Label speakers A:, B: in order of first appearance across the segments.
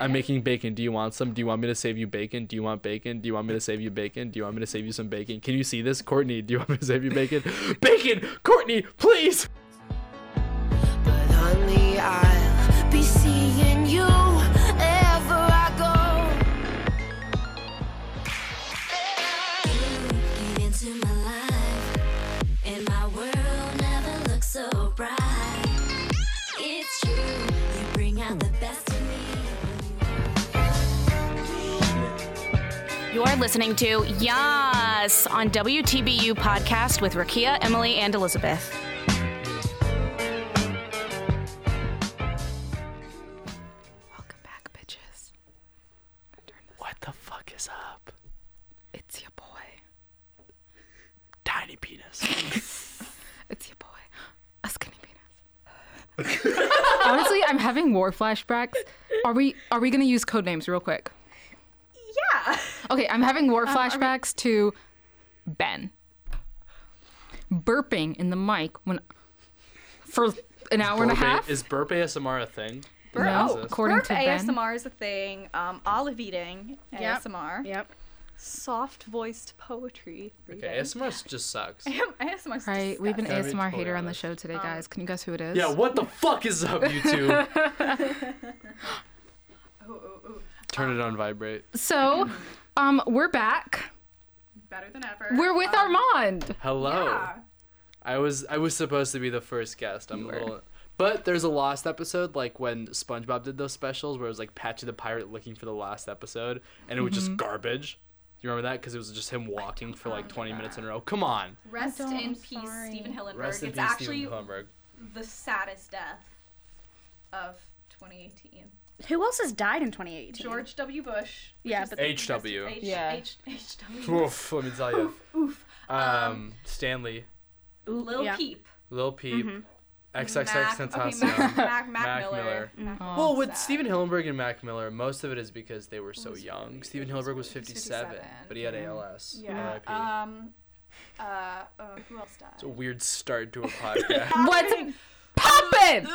A: I'm making bacon. Do you want some? Do you want me to save you bacon? Do you want bacon? Do you want me to save you bacon? Do you want me to save you some bacon? Can you see this? Courtney, do you want me to save you bacon? bacon! Courtney, please!
B: But honey, I'll be seeing you ever I go. Get into my life, and my world never looks so bright. It's true, you bring out the best in me.
C: You're listening to Yas on WTBU podcast with Rakia, Emily, and Elizabeth. Welcome back, bitches.
A: What the fuck is up?
C: It's your boy.
A: Tiny penis.
C: It's your boy. A skinny penis. Honestly, I'm having war flashbacks. Are we are we gonna use code names real quick?
D: Yeah.
C: Okay, I'm having war flashbacks to Ben burping in the mic when for an hour and a half.
A: Is burp ASMR a thing?
C: No,
D: oh,
C: according
D: burp
C: to Ben.
D: ASMR is a thing. Um, olive eating
E: Yep.
D: ASMR.
E: Yep.
D: Soft voiced poetry.
A: Okay,
D: reading.
A: ASMR just sucks.
D: ASMR. is
C: Right, we have an
D: disgusting.
C: ASMR
A: Gotta be totally
C: hater on the
A: honest.
C: show today, guys. Can you guess who it is?
A: Yeah, what the fuck is up, YouTube? Turn it on vibrate.
C: So, um, we're back.
E: Better than ever.
C: We're with Armand.
A: Hello.
E: Yeah.
A: I was I was supposed to be the first guest. I'm a little but there's a lost episode like when SpongeBob did those specials where it was like Patchy the pirate looking for the last episode and it was
D: Mm-hmm.
A: just garbage. Do you remember that? Because it was just him walking for like 20 minutes in a row. Come on.
D: Rest
E: don't,
D: in
E: I'm
D: peace,
E: sorry.
D: Stephen Hillenburg.
A: Rest in
D: it's
A: peace,
D: actually
A: Stephen Hillenburg.
D: the saddest death of 2018.
E: Who else has died in 2018?
D: George W. Bush. which
E: Yeah,
D: is
E: but-
D: the-
A: H.W..
D: H-
C: Yeah.
D: H- H.W.
A: Oof, let me tell you.
D: Oof.
A: Um, Stanley,
D: Lil
E: yeah.
D: Peep.
A: Lil Peep, XXX
D: Mm-hmm. Mac, okay, Mac,
A: Tentacion.
D: Mac, Mac
A: Mac
D: Miller. Mac Miller.
A: Well, with
D: Sad.
A: Stephen Hillenburg and Mac Miller, most of it is because they were so
D: was
A: young.
D: really-
A: Stephen
D: it was
A: Hillenburg was
D: really-
A: 57,
D: 57,
A: but he had ALS.
D: Yeah.
A: RIP.
D: Um. Uh. Oh, who else died?
A: it's a weird start to a podcast.
C: What's poppin'?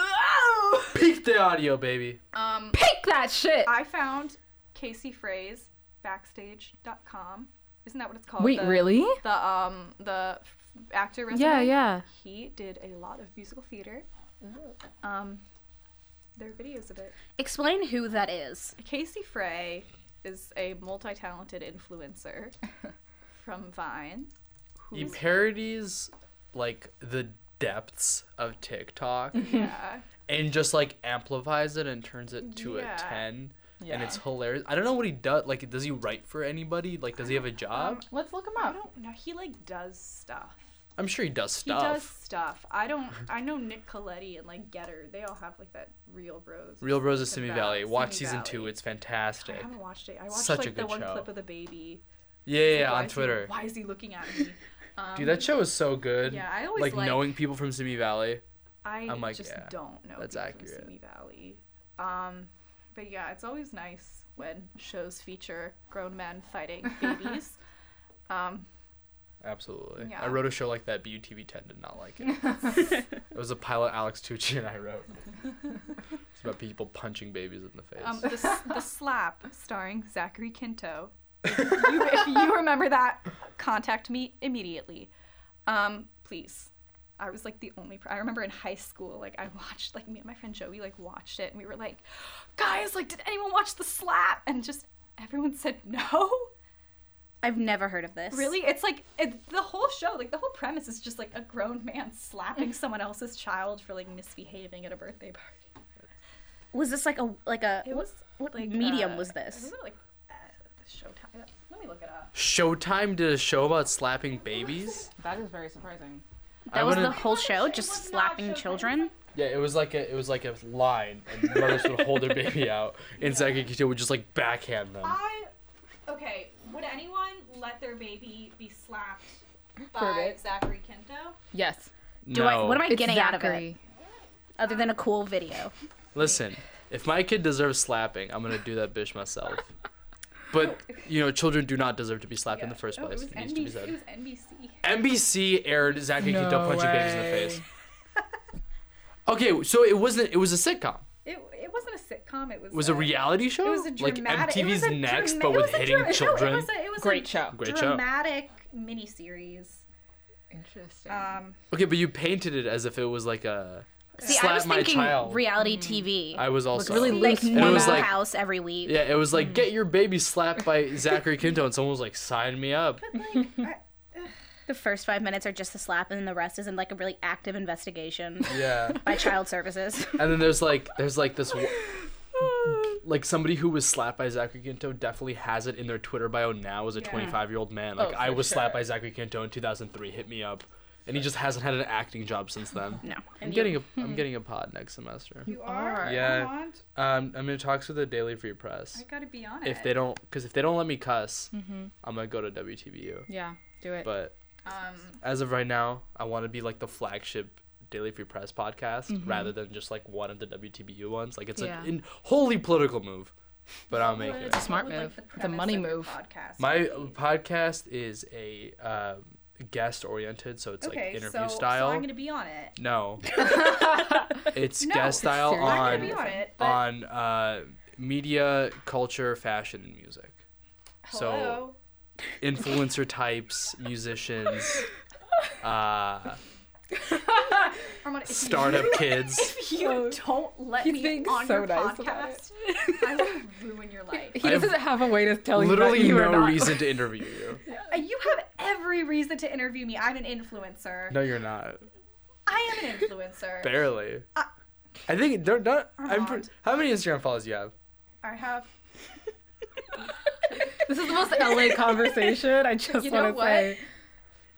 A: Peak the audio, baby.
D: Um.
C: Pick that shit.
D: I found Casey Frey's backstage.com. Isn't that what it's called?
C: Wait,
D: The-
C: really?
D: The um the f- actor resume.
C: Yeah, yeah.
D: He did a lot of musical theater. Um, there are videos of it.
E: Explain who that is.
D: Casey Frey is a multi-talented influencer from Vine. Who
A: He
D: is
A: parodies like the depths of TikTok
D: yeah.
A: and just like amplifies it and turns it to
D: Yeah.
A: a 10.
C: Yeah.
A: And it's hilarious. I don't know what he does. Like, does he write for anybody? Like, does he
D: Um,
A: have a job?
C: Let's look him
D: Uh, I don't know. He like does stuff.
A: I'm sure he does stuff.
D: He does stuff. I don't. I know Nick Coletti and like Getter. They all have like that Real Bros.
A: Real Bros of
D: It's
A: Simi
D: about
A: Valley. Watch
D: Simi
A: season
D: Valley.
A: two. It's
D: I
A: fantastic.
D: haven't watched it. I watched
A: Such a
D: like the
A: good
D: one
A: show.
D: clip of the baby.
A: Yeah, yeah, yeah,
D: Why
A: on
D: is he-
A: Twitter.
D: why is he looking at me? Um,
A: Dude, that show is so good.
D: yeah, I always
A: like,
D: like-
A: knowing people from Simi Valley.
D: I
A: I'm like,
D: just
A: yeah,
D: don't know.
A: that's
D: people
A: accurate.
D: From Simi Valley. Um, but yeah, it's always nice when shows feature grown men fighting babies. um,
A: Absolutely.
D: Yeah.
A: I wrote a show like that, but UTV 10 did not like it. it was a pilot Alex Tucci and I wrote. It's about people punching babies in the face.
D: um, the, S- the slap starring Zachary Quinto. If you, if you remember that, contact me immediately, um, please. I was like the only. Per- I remember in high school, like I watched, like me and my friend Joey, like watched it, and we were like, guys, like, did anyone watch the slap? And just everyone said no.
E: I've never heard of this.
D: Really? It's like it, the whole show, like the whole premise is just like a grown man slapping someone else's child for like misbehaving at a birthday party.
E: Was this like a like a
D: It
E: what-
D: was
E: what
D: like
E: medium
D: uh,
E: was this?
D: Was it like uh, Showtime? Let me look it up.
A: Showtime did a show about slapping babies.
F: That is very surprising.
A: I
E: That was the
A: wouldn't-
E: whole show,
D: It
E: just
D: was not
E: slapping
D: showtime.
E: children.
A: Yeah, it was like a it was like a line, and mothers would hold their baby out, and Zachary Quinto would just like backhand them.
D: I okay. Would anyone let their baby be slapped
C: For
D: by
C: it.
D: Zachary Quinto?
C: Yes.
E: Do I? What am I
C: It's
E: getting out of it?
C: Zachary.
E: Other than a cool video.
A: Listen, if my kid deserves slapping, I'm gonna do that bitch myself. But you know, children do not deserve to be slapped in the first
D: Oh,
A: place.
D: it was
A: It, needs to be
D: NBC. It
A: said.
D: was NBC.
A: NBC aired Zachary
C: No
A: Quinto punching babies in the
C: way.
A: face. Okay, so it wasn't. It was a sitcom.
D: It, it wasn't a sitcom. It was
A: was a reality show.
D: It was a dramatic.
A: like
D: it was
A: MTV's
D: a
A: Next,
D: drama-
A: but
D: it
A: with
D: was a
A: hitting
D: drama-
A: children.
D: No, it was a, it was
E: Great
D: a
E: show.
A: Great show.
D: dramatic miniseries.
F: Interesting.
D: Um,
A: Okay, but you painted it as if it was like a
E: See,
A: slap
E: I was
A: my
E: thinking
A: child.
E: reality TV.
A: I was also
F: really
E: like
F: loose
A: it
E: normal
A: was like-
E: house every week.
A: yeah. It was like
D: Hmm.
A: get your baby slapped by Zachary Quinto, and someone was like, "Sign me up."
D: like, I,
E: The first five minutes are just a slap, and then the rest is in like a really active investigation
A: Yeah.
E: by child services.
A: And then there's like there's like this wo- like somebody who was slapped by Zachary Quinto definitely has it in their Twitter bio now as a 25 year old man. Like
F: Oh,
A: I
F: for
A: was slapped
F: sure.
A: by Zachary Quinto in 2003. Hit me up, and he just hasn't had an acting job since then.
E: No.
A: I'm getting a I'm getting a pod next semester.
D: you are.
A: Yeah.
D: I'm on-
A: Um, I'm gonna talk to the Daily Free Press.
D: I gotta be on it.
A: If they don't, because if they don't let me cuss, I'm gonna go to WTBU.
F: yeah, do it.
A: But
D: um,
A: as of right now, I want to be like the flagship Daily Free Press podcast
D: Mm-hmm.
A: rather than just like one of the WTBU ones. Like it's
F: Yeah.
A: an in, wholly political move, but I'll make it.
D: what
F: smart
D: would, like,
F: move.
D: the
F: It's a
D: premise
F: money
D: of your
F: move.
D: Podcast.
A: My uh, podcast is a um, guest oriented, so it's
D: okay,
A: like interview
D: so,
A: style.
D: So I'm gonna be on it.
A: No, it's
D: No,
A: guest style
F: seriously.
D: I'm not gonna
A: on
D: be on it. But
A: on uh, media, culture, fashion, and music. So
D: hello.
A: influencer types, musicians, uh,
D: I'm gonna, if
A: startup kids.
D: You, you don't let
F: He's
D: me
F: being
D: on
F: so
D: your
F: nice about
D: podcast. I will ruin your life.
F: he
A: I have
F: doesn't have a way to tell you that
A: Literally
F: you are
A: no
F: not-
A: reason to interview you.
D: Uh, You have every reason to interview me. I'm an influencer.
A: No, you're not.
D: I am an influencer.
A: Barely.
D: Ah.
A: I think they're not. I'm
D: Armand.
A: pre- how many Instagram followers you have?
D: I have.
F: This is the most LA conversation. I just
D: You know
F: want to
D: what?
F: say.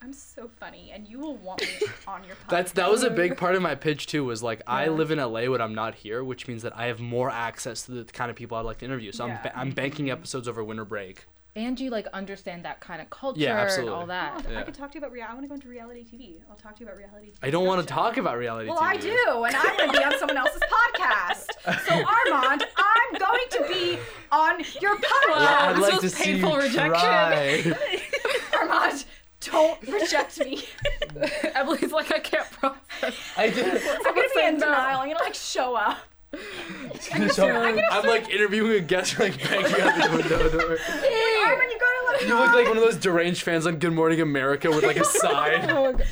D: I'm so funny, and you will want me on your podcast.
A: That's that was a big part of my pitch too. Was like I live in LA when I'm not here, which means that I have more access to the kind of people I'd like to interview. So I'm
D: Yeah.
A: ba- I'm banking episodes over winter break.
F: And you like understand that kind of culture and
A: absolutely.
F: all that.
D: I
A: Yeah.
D: could talk to you about reality. I want to go into reality TV. I'll talk to you about reality. TV
A: I don't want to
D: production.
A: talk about reality.
D: Well,
A: TV.
D: I do, and I'm going to be on someone else's podcast. So Armand, I'm going to be on your
A: Well, I'd
D: podcast.
F: this
A: like
F: was
A: to see
F: painful
A: you
F: rejection.
A: try.
D: Armand, don't reject me.
F: Emily's like, I can't process.
A: I did.
D: I'm going to be
F: say
D: in
F: no.
D: denial. I'm going to like show up.
A: So I'm like interviewing a guest, like banging on the window door.
D: Armand, you got to
A: You look like one of those deranged fans on Good Morning America with like a sign.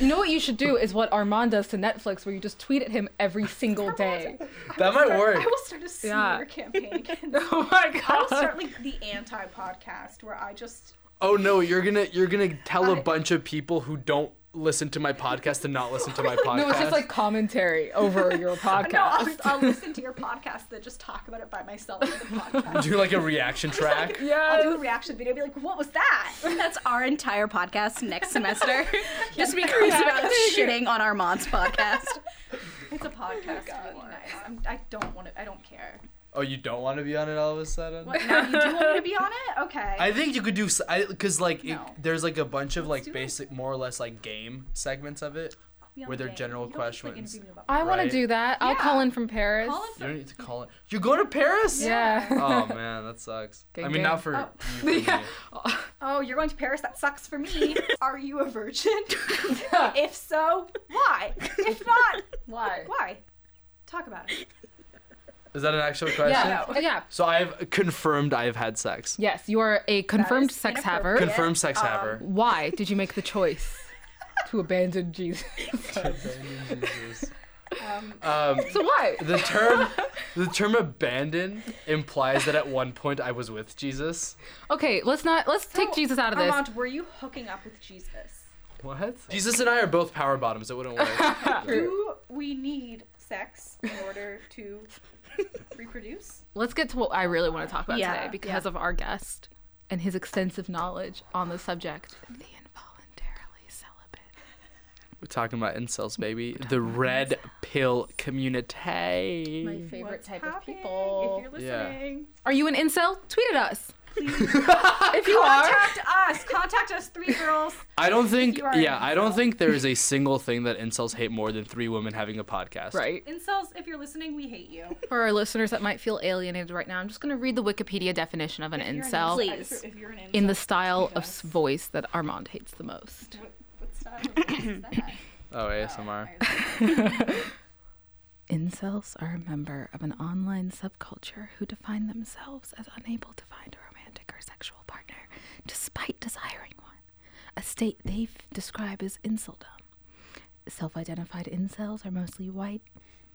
F: You know what you should do is what Armand does to Netflix, where you just tweet at him every single day.
A: That might work.
D: I will start a smear
F: Yeah.
D: campaign again.
F: oh my
D: I'll start like the anti-podcast where I just
A: Oh no, you're gonna you're gonna tell a
D: I-
A: bunch of people who don't listen to my podcast to not listen to my podcast.
F: No, it's just like commentary over your podcast.
D: no, I'll, I'll listen to your podcast that just talk about it by myself in the podcast.
A: do like a reaction track.
D: I'll do a
F: yes.
D: reaction video. Be like, what was that?
E: That's our entire podcast next semester. Just because about shitting on Armand's podcast.
D: It's a podcast. really nice. I'm, I don't want to. I don't care.
A: Oh, you don't want to be on it all of a sudden.
D: What, now you do want me to be on it? Okay.
A: I think you could do because like it,
D: No.
A: there's like a bunch of
D: do
A: like
D: it.
A: basic, more or less like game segments of it.
D: Be on
A: were
D: the
A: there
D: game.
A: general
D: You don't have to, like,
A: questions?
D: interview me about
F: I want
A: Right.
F: to do that. I'll
D: Yeah.
F: call in from Paris.
D: Colin
A: You
D: from-
A: don't need to call it. You're going to Paris?
F: yeah.
A: Oh man, that sucks. I
F: Gang,
A: mean,
F: gang.
A: not for.
D: Oh.
A: you, for me.
D: Oh, you're going to Paris? That sucks for me. Are you a virgin? if so, why? If not,
F: Why?
D: why? Talk about it.
A: Is that an actual question?
F: Yeah. Yeah.
A: So I've confirmed I've had sex.
F: Yes, you are a confirmed
D: is
F: sex haver.
D: inappropriate.
A: Confirmed sex haver.
F: Why did you make the choice to abandon Jesus?
D: Um,
A: Um,
F: so why?
A: the term, the term abandon implies that at one point I was with Jesus.
F: Okay, let's not let's take
D: so,
F: Jesus out of this.
D: Armand, were you hooking up with Jesus?
A: What? Jesus and I are both power bottoms. It wouldn't work.
D: Do we need sex in order to reproduce?
F: Let's get to what I really want to talk about
E: Yeah,
F: today because of our guest and his extensive knowledge on the subject. The involuntarily celibate.
A: We're talking about incels, baby. The red pill
E: My
A: community.
E: favorite
D: What's
E: type
D: happening?
E: of people.
D: If you're
A: Yeah.
D: listening,
F: Are you an incel? Tweet at us. if you are,
D: contact us. Contact us, three girls.
A: I don't think,
D: you are an
A: yeah, I don't
D: incel.
A: think there is a single thing that incels hate more than three women having a podcast.
F: right.
D: Incels, if you're listening, we hate you.
F: For our listeners that might feel alienated right now, I'm just going to read the Wikipedia definition of an incel
E: Please.
D: If you're an incel,
F: in the style of
D: Yes.
F: voice that Armand hates the most.
D: What, what style of voice is that?
A: Oh, ASMR.
C: Incels are a member of an online subculture who define themselves as unable to find a romantic or sexual partner despite desiring one, a state they f- describe as inceldom. Self identified incels are mostly white,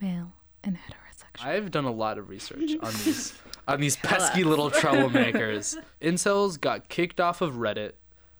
C: male, and heterosexual.
A: I've done a lot of research on these on these pesky little troublemakers. Incels got kicked off of Reddit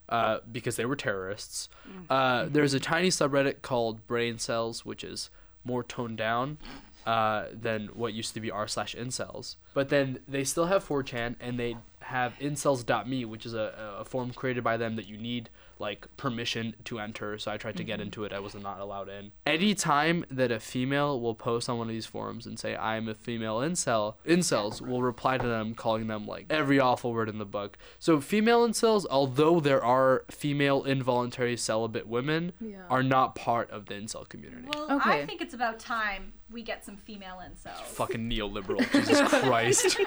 A: uh, because they were terrorists. Uh, there's a tiny subreddit called Brain Cells, which is more toned down uh, than what used to be r slash incels. But then they still have 4chan and they have incels.me, which is a, a form created by them that you need like permission to enter. So I tried to
D: Mm-hmm.
A: get into it. I was not allowed in. Any time that a female will post on one of these forums and say, I'm a female incel, incels will reply to them calling them like every awful word in the book. So female incels, although there are female involuntary celibate women, are not part of the incel community.
D: Well,
C: Okay.
D: I think it's about time we get some female incels.
A: Fucking neoliberal, Jesus Christ.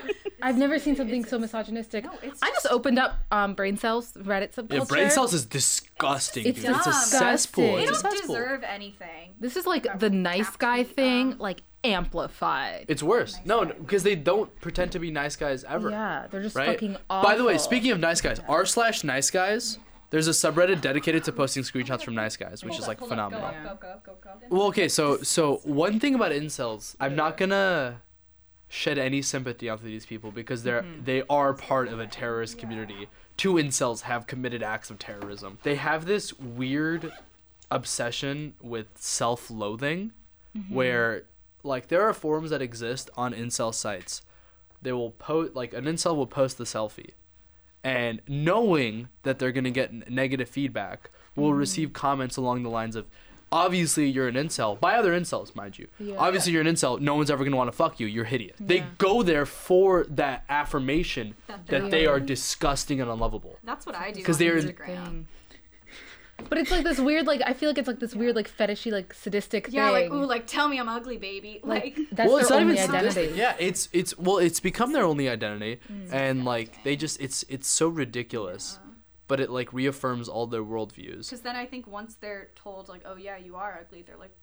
C: I've never seen something so misogynistic.
D: it's
C: I just opened up um, brain cells Reddit subculture.
A: Yeah, brain cells is disgusting,
C: It's
A: dude. It's a
C: disgusting.
A: cesspool.
D: They
A: It's a
D: don't
A: cesspool.
D: deserve anything.
C: This is like the nice guy thing, like amplified.
A: It's worse. No, because they don't pretend to be nice guys ever.
C: yeah, they're just
A: right?
C: fucking awful.
A: By the way, speaking of nice guys, r slash nice guys, there's a subreddit dedicated to posting screenshots from nice guys, which is like phenomenal.
D: Go up, go up, go up, go up, go up.
A: Well, okay, so so one thing about incels, I'm not gonna shed any sympathy onto these people because they're
C: Mm-hmm.
A: they are part of a terrorist community. Two incels have committed acts of terrorism. They have this weird obsession with self-loathing, Mm-hmm. where like there are forums that exist on incel sites. They will post like an incel will post the selfie, and knowing that they're going to get n- negative feedback will receive comments along the lines of obviously you're an incel by other incels mind you obviously you're an incel no one's ever going to want to fuck you you're hideous they go there for that affirmation that, they are disgusting and unlovable
D: That's what I do.
A: 'Cause
D: on
A: they're-
D: Instagram.
C: but it's like this weird, like I feel like it's like this weird, like fetishy, like sadistic
D: Yeah, like
C: thing.
D: ooh, like tell me I'm ugly, baby. Like,
C: that's
A: well,
C: their
A: it's not
C: only
A: even
C: identity.
A: sadistic. Yeah, it's it's well, it's become their only identity, and like they just it's it's so ridiculous, but it like reaffirms all their worldviews.
D: because then I think once they're told like, oh yeah, you are ugly, they're like,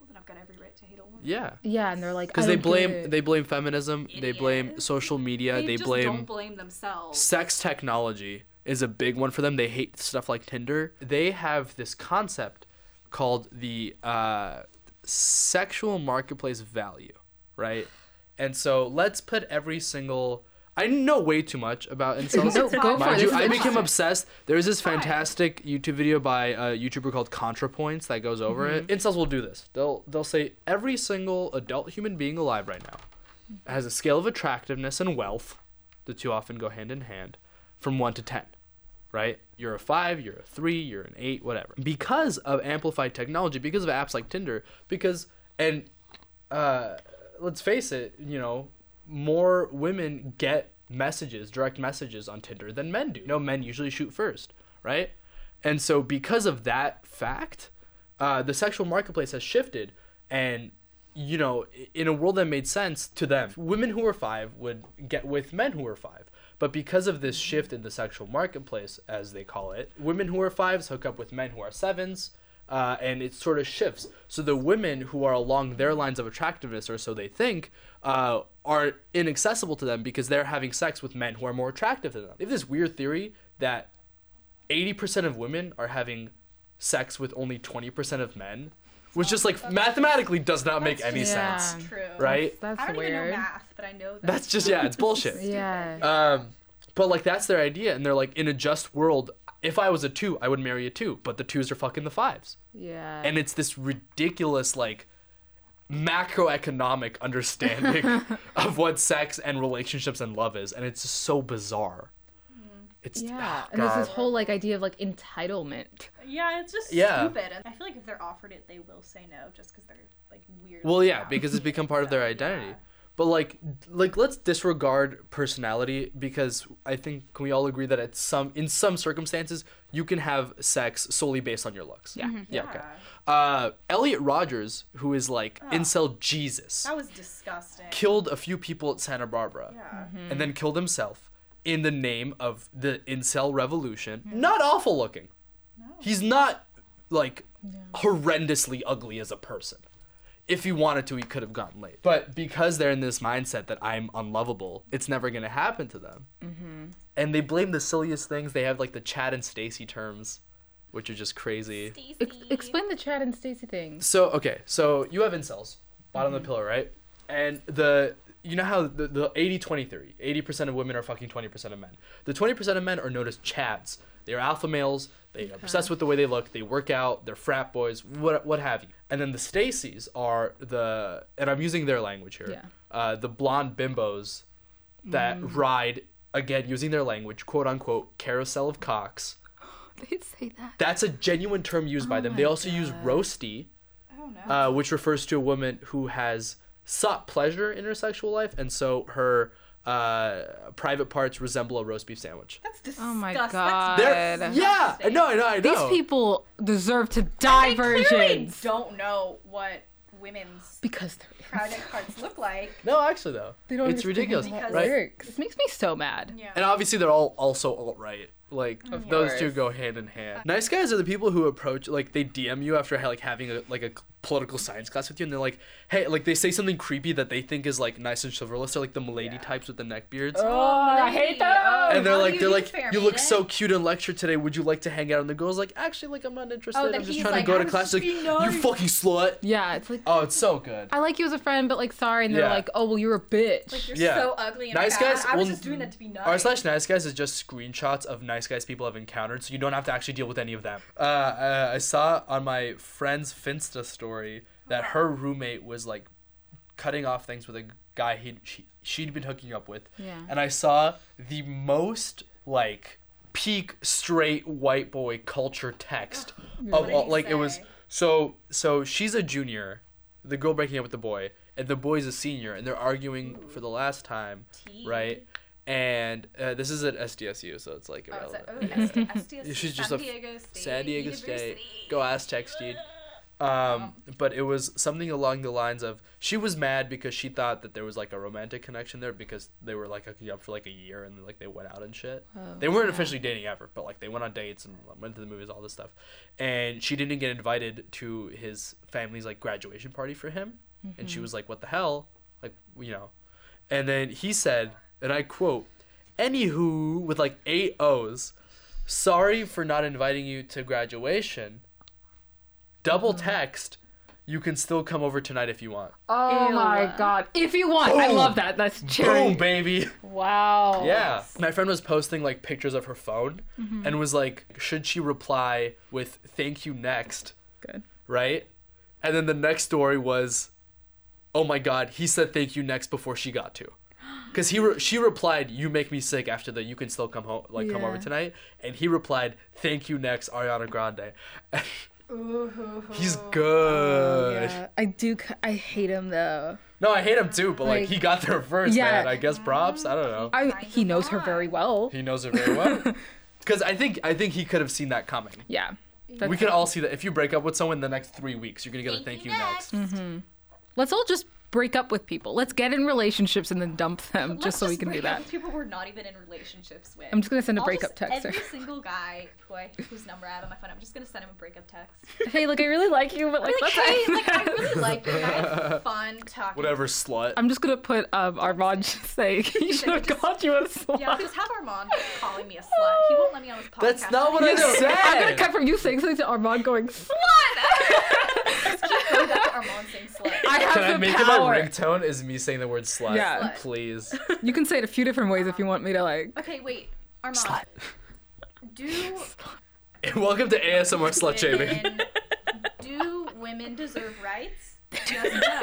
D: well then I've got every right to hate a woman.
A: Yeah,
C: Yeah, and they're like
A: because
C: I
A: they
C: don't
A: blame
C: get it.
A: they blame feminism, they blame
D: Idiots.
A: social media, they,
D: just
A: blame
D: don't blame themselves.
A: sex technology is a big one for them. They hate stuff like Tinder. They have this concept called the uh, sexual marketplace value, right? And so let's put every single. I know way too much about incels.
C: No, go for
A: Mind
C: it.
A: you,
C: This is
A: I became
C: interesting.
A: obsessed. There's this fantastic YouTube video by a YouTuber called ContraPoints that goes over it. Incels will do this. They'll they'll say every single adult human being alive right now has a scale of attractiveness and wealth. The two often go hand in hand from 1 to 10, right? You're a 5, you're a 3, you're an 8, whatever. Because of amplified technology, because of apps like Tinder, because and uh, let's face it, you know, more women get messages, direct messages on Tinder than men do. You know, men usually shoot first, right? And so because of that fact, uh, the sexual marketplace has shifted and you know, i- in a world that made sense to them, women who were five would get with men who were five. But because of this shift in the sexual marketplace, as they call it, women who are fives hook up with men who are sevens, uh, and it sort of shifts. So the women who are along their lines of attractiveness, or so they think, uh, are inaccessible to them because they're having sex with men who are more attractive to them. They have this weird theory that 80% of women are having sex with only 20% of men, which just like mathematically does not make any
C: Yeah.
A: sense,
D: True.
A: right?
C: That's
D: I don't
C: weird.
D: even know math, but I know that.
A: That's just, yeah, it's bullshit.
C: yeah.
A: Um, but like that's their idea, and they're like, in a just world, if I was a two, I would marry a two, but the twos are fucking the fives,
C: yeah.
A: and it's this ridiculous like macroeconomic understanding of what sex and relationships and love is, and it's just so bizarre. It's
C: yeah.
A: ah,
C: And there's this
A: God.
C: whole like idea of like entitlement.
D: yeah, it's just
A: Yeah.
D: stupid. And I feel like if they're offered it, they will say no just because they're like weird.
A: Well, yeah, because it's become part of their identity. But like, like let's disregard personality because I think can we all agree that at some in some circumstances you can have sex solely based on your looks. Yeah. Yeah. Okay. Uh, Elliot Rogers, who is like incel Jesus,
D: That was disgusting.
A: killed a few people at Santa Barbara,
D: Yeah.
A: and then killed himself in the name of the incel revolution. Not awful looking. He's not like horrendously ugly as a person if he wanted to, he could have gotten laid. But because they're in this mindset that I'm unlovable, it's never gonna happen to them. And they blame the silliest things. They have like the Chad and Stacy terms, which are just crazy.
C: Ex- explain the Chad and Stacy thing.
A: So okay, so you have incels, bottom of the pillar, right? And the you know how the, the 80 20 theory 80% of women are fucking 20% of men the 20% of men are known as chads they're alpha males they are obsessed with the way they look they work out they're frat boys what, what have you and then the stacies are the and i'm using their language here
C: Yeah.
A: uh, the blonde bimbos that ride again using their language quote unquote carousel of cocks
C: They say that.
A: that's a genuine term used
C: Oh
A: by them they also use roasty
D: Oh no.
A: uh, which refers to a woman who has sought pleasure in her sexual life, and so her uh, private parts resemble a roast beef sandwich.
D: That's disgusting.
C: Oh my
D: That's-
C: god.
A: They're- yeah, I know, I know, I
C: These
A: know.
C: people deserve to
D: They
C: die
D: clearly
C: virgins.
D: don't know what women's
C: Because they're
D: private parts look like.
A: no, actually though,
C: they don't
A: it's
C: understand
A: ridiculous,
C: how it
A: right?
C: works. This makes me so mad.
D: Yeah.
A: And obviously, they're all also alt right. Like those two
C: course.
A: go hand in hand. Nice guys are the people who approach, like they DM you after like having a like a political science class with you, and they're like, hey, like they say something creepy that they think is like nice and chivalrous. They're like the milady types with the neck beards.
F: Oh,
C: Oh, I hate that.
A: and they're
D: how do
A: like,
D: you
A: they're
D: do
A: like,
D: fair
A: you look
D: meeting?"
A: so cute in lecture today. Would you like to hang out? And the girl's like, actually, like I'm not interested.
E: that
A: I'm just
E: he's
A: trying
E: like,
A: to go to
E: "I'm
A: class.
E: just
A: Like,
E: being
A: you
E: nice."
A: fucking slut.
C: Yeah, it's like
A: Oh, it's so good.
C: I like you as a friend, but like sorry, and they're
A: Yeah.
C: like, oh well, you're a bitch.
D: You're
A: Yeah.
D: so ugly and
A: Nice
D: bad.
A: guys
D: I was
A: will-
D: just doing that to be nice.
A: R slash nice guys is just screenshots of nice guys people have encountered, so you don't have to actually deal with any of them. Uh, uh, I saw on my friend's Finsta story that her roommate was like cutting off things with a guy he she, she'd been hooking up with.
C: Yeah.
A: And I saw the most like peak straight white boy culture text of all. Like it was
D: say?
A: so so she's a junior, the girl breaking up with the boy, and the boy's a senior, and they're arguing for the last time, right? And uh, this is at SDSU, so it's like
D: Oh, is
A: irrelevant.
D: that- oh, SD SDSU,
A: She's just
D: San
A: a f-
D: Diego State
A: San Diego State.
D: University.
A: Go Aztecs, dude. Um, but it was something along the lines of she was mad because she thought that there was like a romantic connection there because they were like hooking up for like a year and like they went out and shit.
D: Oh,
A: they weren't officially dating ever, but like they went on dates and went to the movies, all this stuff. And she didn't get invited to his family's like graduation party for him, and
D: Mm-hmm.
A: she was like, "What the hell?" Like you know, and then he said, and I quote, "Anywho," with like eight O's. Sorry for not inviting you to graduation. Double text. You can still come over tonight if you want.
C: Oh my god. If you want, I
A: Boom.
C: love that. That's cherry.
A: Boom, baby.
C: Wow.
A: Yeah. My friend was posting like pictures of her phone
C: Mm-hmm.
A: and was like, should she reply with thank you next?
C: Good.
A: Right? And then the next story was, oh my God, he said thank you next before she got to. Because he re- she replied, "You make me sick." After the, you can still come home, like come over
C: Yeah.
A: tonight. And he replied, "Thank you next, Ariana Grande." He's good.
C: I do. c- I hate him though.
A: No, I hate him too, but like,
C: Like-
A: he got there first,
C: Yeah.
A: man. I guess props. I don't know.
C: I, he knows her very well.
A: He knows it very well. Because I think I think he could have seen that coming.
C: Yeah.
A: we could all see that if you break up with someone in the next three weeks, you're gonna get a thank you next.
C: Mm-hmm. Let's all just break up with people. Let's get in relationships and then dump them, just
D: Let's
C: so we can do
D: break
C: that.
D: up with people we're not even in relationships with.
C: I'm just gonna send a
D: I'll
C: breakup
D: just-
C: text.
D: Every single guy who I, whose number I have on my phone, I'm just gonna send him a breakup text.
C: hey, look, I really like you, but like,
D: Like, hey, like I really like you. and I had fun talking.
A: Whatever, slut.
C: I'm just gonna put um, Armand just saying he should have
D: just-
C: called you a slut.
D: Yeah, just have Armand calling me a slut. He won't let me on his podcast.
A: That's not what I said.
C: I'm gonna cut from you saying something to Armand going slut.
D: Go back to Armand saying slut.
C: I have
A: Can I
C: the
A: make
C: power.
A: it my ringtone? Is me saying the word slut?
C: Yeah. Slut.
A: Please.
C: You can say it a few different ways if you want me to like.
D: Okay, wait, Armand. Do
A: And welcome to ASMR slut shaming.
D: women, do women deserve rights? Yes, no.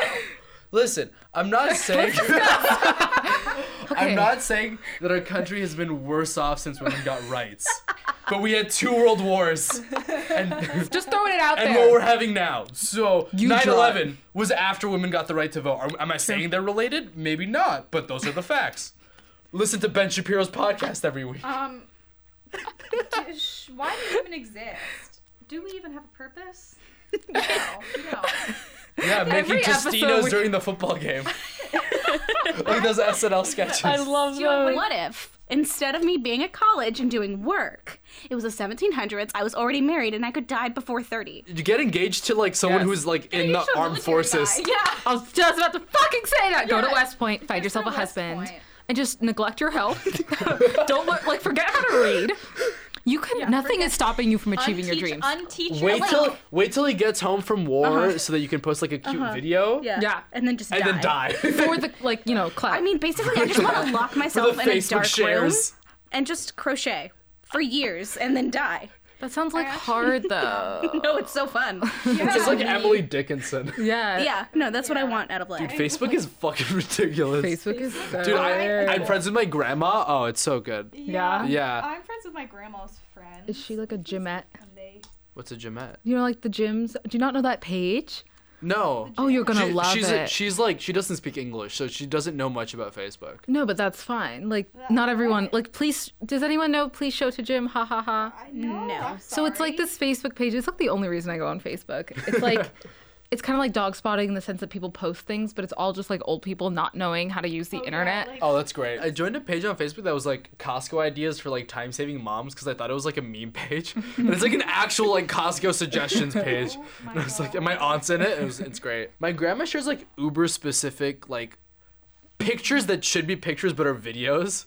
A: Listen, I'm not saying.
C: Okay.
A: I'm not saying that our country has been worse off since women got rights, but we had two world wars, and
C: Just throwing it out
A: and
C: there.
A: what we're having now. So
C: You
A: 9/11 was after women got the right to vote. Are, am I saying they're related? Maybe not, but those are the facts. Listen to Ben Shapiro's podcast every week.
D: Um, do- sh- why do we even exist? Do we even have a purpose? No, no.
A: yeah, making
C: every episode
A: Tostinos
C: we-
A: Oh, during the football game. like those SNL sketches.
C: I love
E: Yo,
C: those.
E: what if Instead of me being at college and doing work, it was the 1700s. I was already married and I could die before 30.
A: You get engaged to like someone
F: Yes.
A: who's like in the
D: Engaged to a
A: armed
D: military
A: forces.
D: guy. Yeah.
F: I was just about to fucking say that. Go to
D: Yeah.
F: West Point, find yourself a
D: to West
F: husband,
D: Point.
F: and just neglect your health. Don't learn, like forget how to read. You can. nothing is stopping you from achieving your dreams.
D: Unteach
A: Wait till wait till he gets home from war so that you can post like a cute video.
F: Yeah.
E: And then just
A: And
E: die.
A: then die.
F: for the like, you know, clout.
E: I mean, basically, I just want to lock myself in a
A: Facebook
E: dark
A: shares.
E: room and just crochet for years and then die.
F: that sounds like hard though.
E: No, it's so fun.
A: It's like Emily Dickinson.
F: yeah.
E: yeah, no, that's what I want out of life.
A: Facebook is fucking ridiculous.
F: Facebook is so
A: Dude, I, I'm friends with my grandma. Oh, it's so good.
F: Yeah.
A: Yeah.
D: I'm friends with my grandma's friends.
F: Is she like a gymette?
D: And they
A: What's a Jamette?
F: You know, like the gyms. Do you not know that page?
A: No.
F: Oh, you're gonna
A: She-
F: love
A: she's
F: it.
A: A, she's like she doesn't speak English, so she doesn't know much about Facebook.
F: no, but that's fine. Like, not everyone. Like, please. Does anyone know? Please show to Jim. Ha ha ha.
D: I know.
E: No.
D: I'm
F: So it's like
D: sorry.
F: this Facebook page. It's like the only reason I go on Facebook. It's like it's kind of like dog spotting in the sense that people post things, but it's all just like old people not knowing how to use the
D: Yeah,
F: internet.
D: like-
A: Oh, that's great. I joined a page on Facebook that was like Costco ideas for like time saving moms because I thought it was like a meme page. and it's like an actual like Costco suggestions
F: Oh
A: page. and I was like, and my aunt's in it. It was, it's great. My grandma shares like uber specific like pictures that should be pictures but are videos.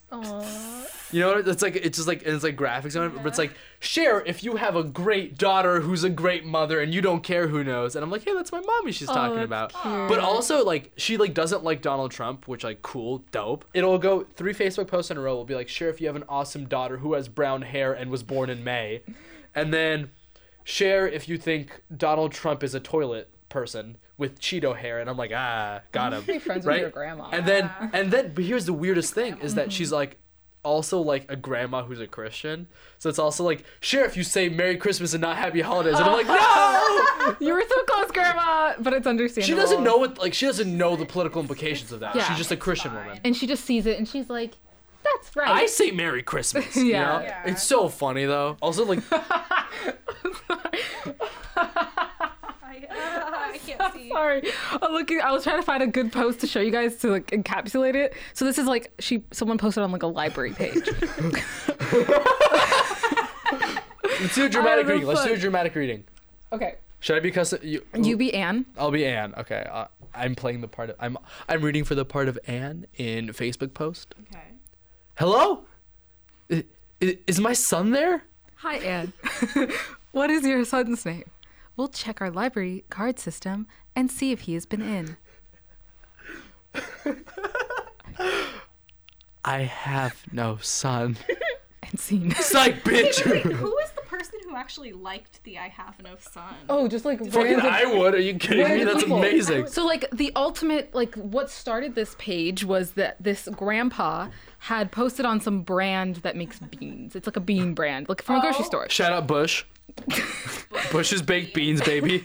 A: You know, it's like it's just like it's like graphics on it, but it's like share if you have a great daughter who's a great mother and you don't care who knows. And I'm like, hey, that's my mommy she's talking
F: that's
A: about. But also like she like doesn't like Donald Trump, which like cool, dope. It'll go three Facebook posts in a row. Will be like share if you have an awesome daughter who has brown hair and was born in May, and then share if you think Donald Trump is a toilet person with Cheeto hair. And I'm like, ah, got him.
F: friends with
A: right?
F: your grandma. Mm-hmm.
A: And then and then but here's the weirdest thing is that she's like also like a grandma who's a Christian. So it's also like, share if you say Merry Christmas and not Happy Holidays. And I'm like, no!
F: you were so close, Grandma, but it's understandable.
A: She doesn't know what like she doesn't know the political implications of that.
F: Yeah.
A: She's just a Christian woman.
F: and she just sees it, and she's like, "That's right."
A: I say Merry Christmas. you
F: Yeah.
A: know? It's so funny though. Also like
D: I, I can't see.
F: Sorry, I'm looking. I was trying to find a good post to show you guys to like encapsulate it. So this is like she someone posted on like a library page.
A: let's do a dramatic
F: the
A: reading. Let's do a
F: fuck?
A: dramatic reading.
F: okay,
A: Should I be custom you,
F: you be Anne.
A: I'll be Anne. Okay. Uh, I'm playing the part of I'm I'm reading for the part of Anne in Facebook post.
D: Okay.
A: Hello? I- i- Is my son there?
F: Hi, Anne. what is your son's name? We'll check our library card system and see if he has been in.
A: I have no son.
F: And seen.
A: Psych, bitch!
D: Who is the person who actually liked the I have no son?
F: Oh, just like
A: Fucking I would. Are you kidding me? That's amazing.
F: So like the ultimate like what started this page was that this grandpa had posted on some brand that makes beans. It's like a bean brand, like from a grocery store.
A: Shout out Bush. Bush's baked beans, baby.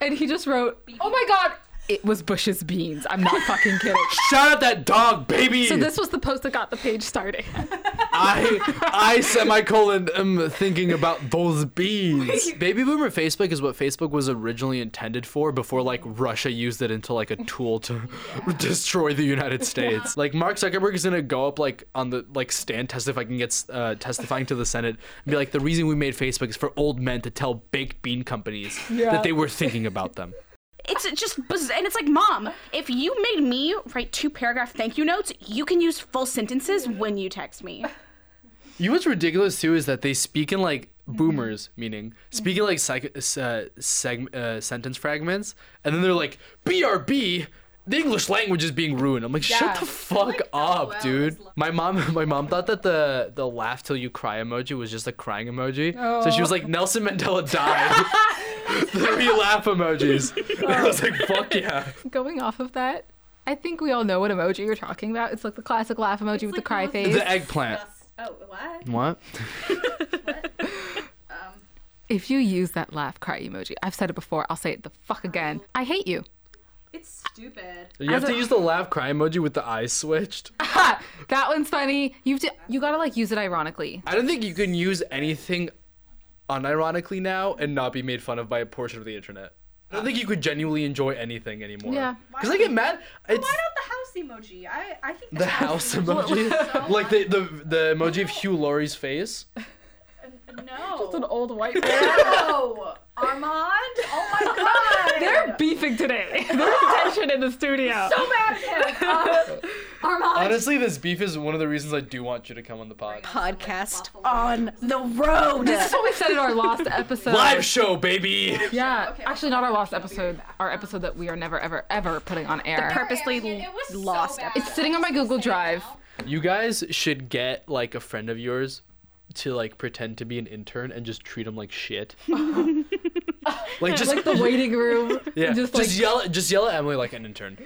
F: And he just wrote, "Oh my god, it was Bush's beans. I'm not fucking kidding."
A: Shout out that dog, baby.
F: So this was the post that got the page started.
A: I I semicolon am thinking about those beans. Baby boomer Facebook is what Facebook was originally intended for before like Russia used it into like a tool to destroy the United States. Like Mark Zuckerberg is gonna go up like on the like stand test if I can get uh, testifying to the Senate and be like the reason we made Facebook is for old men to tell baked bean companies that they were thinking about them.
E: It's just, buzz- and it's like, Mom, if you made me write two paragraph thank you notes, you can use full sentences when you text me.
A: You know what's ridiculous too is that they speak in like boomers, meaning speak in like psych- uh, seg- uh, sentence fragments, and then they're like BRB. The English language is being ruined. I'm like, shut the fuck up, dude. My mom, my mom thought that the the laugh till you cry emoji was just a crying emoji. So she was like, Nelson Mandela died. Three laugh emojis. And I was like, fuck yeah.
F: Going off of that, I think we all know what emoji you're talking about. It's like the classic laugh emoji with the
D: like
F: cry
D: the-
F: face.
A: The eggplant.
D: Oh, what?
A: What?
F: if you use that laugh cry emoji, I've said it before. I'll say it the fuck again. I hate you.
D: It's stupid.
A: You have to use the laugh cry emoji with the eyes switched.
F: Ha! That one's funny. You've d- you gotta like use it ironically.
A: I don't think you can use anything unironically now and not be made fun of by a portion of the internet. I don't think you could genuinely enjoy anything anymore.
F: Yeah.
A: Because I get mad. It's,
D: Why don't the house
E: emoji. I, I think
A: The house emoji, like the the the emoji of Hugh Laurie's face.
E: No.
F: It's an old white man.
E: no. Armand. Oh my god.
F: They're beefing today. There's tension in the studio.
E: so mad at him. Uh, Armand.
A: Honestly, this beef is one of the reasons I do want you to come on the pod.
G: Podcast.
E: on the road.
F: this is what we said in our last episode.
A: Live show, baby.
F: Yeah, actually, not our last episode. Our episode that we are never, ever, ever putting on air.
G: Purposely lost it.
F: It's sitting on my Google Drive.
A: You guys should get like a friend of yours to like pretend to be an intern and just treat him like shit. like just
F: Like the waiting room.
A: yeah, just,
F: Just like
A: yell at- just yell at Emily like an intern.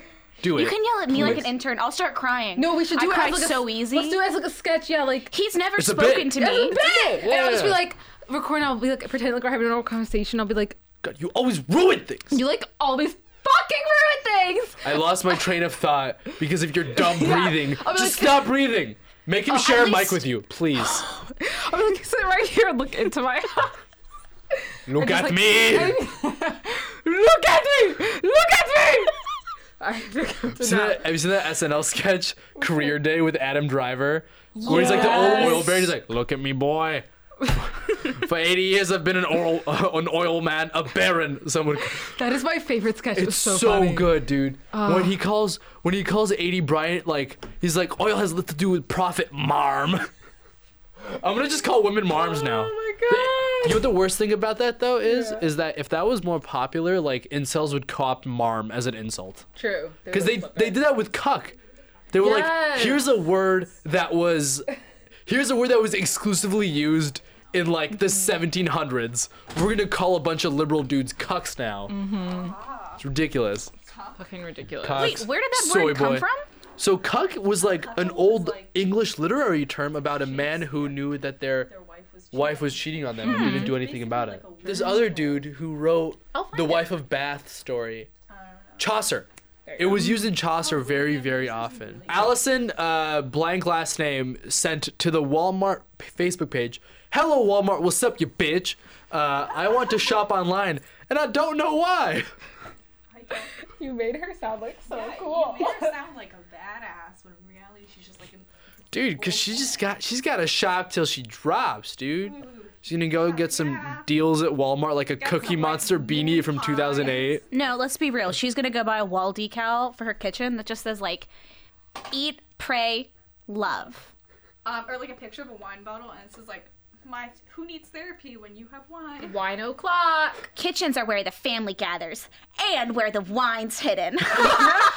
A: Do it.
E: You can yell at me like an intern. I'll start crying.
F: no, we should do
E: I
F: it
E: cry
F: as like a-
E: so easy.
F: Let's do it as like a sketch. Yeah, like
E: He's never
A: It's a
E: spoken
A: bit.
E: to me.
F: And I'll just be
A: Yeah.
F: like, recording. I'll be like, pretend like we're having a normal conversation. I'll be like,
A: God, you always ruin things.
F: you like always fucking ruin things.
A: I lost my train of thought because of your dumb breathing.
F: I'll be
A: Just
F: like-
A: stop breathing. Make him share a mic with you, please.
F: I'll be like, sit right here and look into my
A: Look at
F: like-
A: me.
F: Look at me! Look at me! I think I'm
A: Have you seen that- have you seen that SNL sketch Career Day with Adam Driver? Where he's like the old oil baron. He's like, "Look at me, boy. For 80 years, I've been an oil, an oil man, a baron." Someone,
F: That is my favorite sketch. It
A: it's
F: was
A: so,
F: so, funny. Ah.
A: good, dude. When he calls, when he calls 80 Bryant, like he's like, "Oil has little to do with profit, marm." I'm gonna just call women marms now.
F: Oh
A: You know what the worst thing about that though is, is that if that was more popular, like incels would cop marm as an insult.
F: True.
A: Because they they did that with cuck. They were like,
F: Yes.
A: here's a word that was, here's a word that was exclusively used in like
E: Mm-hmm.
A: the 1700s. We're gonna call a bunch of liberal dudes cucks now. It's ridiculous.
F: fucking ridiculous.
E: Wait, Mm-hmm. where did that
A: Soy
E: word come
A: boy.
E: from?
A: So cuck was like an old English literary term about a man who knew that their wife was cheating on them and didn't do anything about it. This other dude who wrote the wife of Bath story, Chaucer. It was used in Chaucer very, very often. Allison, uh, blank last name, sent to the Walmart p- Facebook page. Hello, Walmart. What's up, you bitch? Uh, I want to shop online, and I don't know why.
F: You made her sound like so
D: You make her sound like a badass when in reality she's just like an
A: Dude, cause she just got she's got to shop till she drops, dude. She's gonna go get some deals at Walmart, like a Cookie
D: some, like,
A: Monster beanie from 2008.
E: No, let's be real. She's gonna go buy a wall decal for her kitchen that just says like, "Eat, pray, love."
D: um or like a picture of a wine bottle and it says like my who needs therapy when you have wine?
F: Wine o'clock.
E: Kitchens are where the family gathers and where the wine's hidden.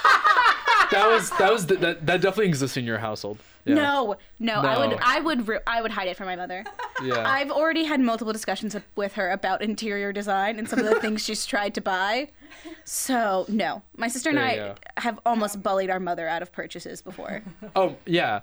A: That was that was the, that that definitely exists in your household. Yeah.
E: no, no, I
A: No.
E: would, I would, ru- I would hide it from my mother.
A: Yeah.
E: I've already had multiple discussions with her about interior design and some of the things she's tried to buy. So no, my sister and
A: There
E: I
A: you go.
E: have almost bullied our mother out of purchases before.
A: Oh yeah.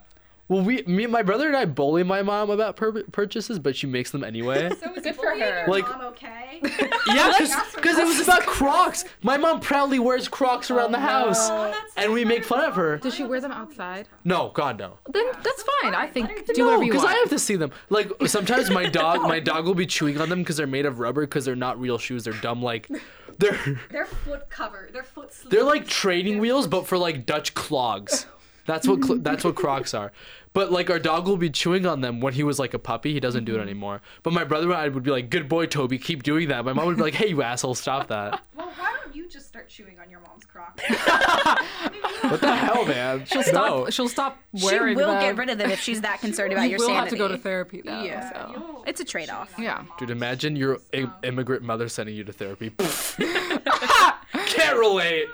A: Well, we me my brother and I bully my mom about pur- purchases, but she makes them anyway.
D: So is
F: Good for
D: bullying
F: her.
D: your
A: Like-
D: mom okay?
A: yeah, because it was about Crocs. My mom proudly wears Crocs around the house, and we make fun of her.
F: Does she wear them outside?
A: No, God no.
F: Then that's fine. I think do
A: No,
F: whatever you
A: because
F: want.
A: I have to see them. Like sometimes my dog, my dog will be chewing on them because they're made of rubber. Because they're not real shoes. They're dumb. Like they're
D: Their foot cover, their foot sleeve.
A: they're like training wheels, but for like Dutch clogs. That's what cl- that's what Crocs are. But like our dog will be chewing on them when he was like a puppy. He doesn't do it anymore. But my brother and I would be like, "Good boy, Toby. Keep doing that." My mom would be like, "Hey, you asshole, stop that."
D: Well, why don't you just start chewing on your mom's crock?
A: What the hell, man? She'll
F: Stop. She'll stop
E: she
F: wearing
E: will
F: them.
E: get rid of them if she's that concerned about
F: You
E: your
F: will
E: sanity.
F: have to go to therapy though.
E: Yeah.
F: so.
E: It's a trade-off.
F: yeah.
A: Dude, imagine your i- immigrant mother sending you to therapy. Can't relate.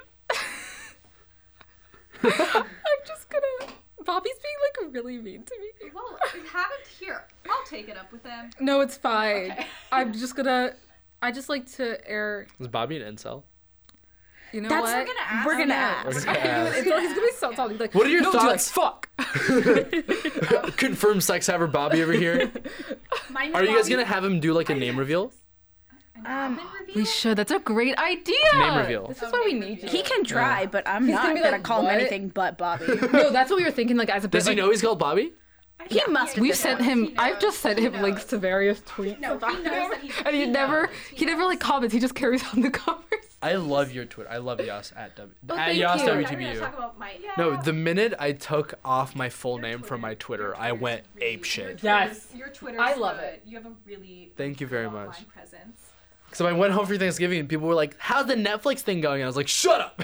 F: I'm just gonna. Bobby's being like really mean to me.
D: Well, we haven't here. I'll take it up with them.
F: No, it's fine. I'm just gonna. I just like to air.
A: Is Bobby an incel?
F: You know
E: That's
F: what?
E: we're gonna ask. We're gonna ask.
F: It's always gonna be so- something like.
A: What are your
F: no,
A: thoughts?
F: Jules, fuck.
A: Confirmed sex haver Bobby over here.
D: My new
A: Are you guys
D: Bobby-
A: gonna have him do like a name reveal?
D: an admin review?
F: We should. That's a great idea.
A: Name reveal.
F: This is why we need you.
E: He can try, but I'm not
F: gonna
E: gonna,
F: be like,
E: call
F: "What?"
E: him anything but Bobby.
F: no, that's what we were thinking. Like as a.
A: Does
F: bit,
A: he know
F: like,
A: he's called Bobby?
E: he must.
F: We've sent him.
D: He
F: I've
D: knows.
F: just sent him links to various tweets.
D: No, he knows that he's.
F: And he never, he never like comments. He just carries on the conversation.
A: I love your Twitter. I love Yas at W. at
C: thank
A: Yas
C: you.
G: I'm gonna talk
A: WTBU.
G: about my
A: No, the minute I took off my full name from my Twitter, I went ape shit.
F: Yes.
G: Your Twitter.
F: I love it.
G: You have a really
A: Thank you very
G: online
A: much.
G: presence.
A: So I went home for Thanksgiving and people were like, "How's the Netflix thing going?" And I was like, "Shut up."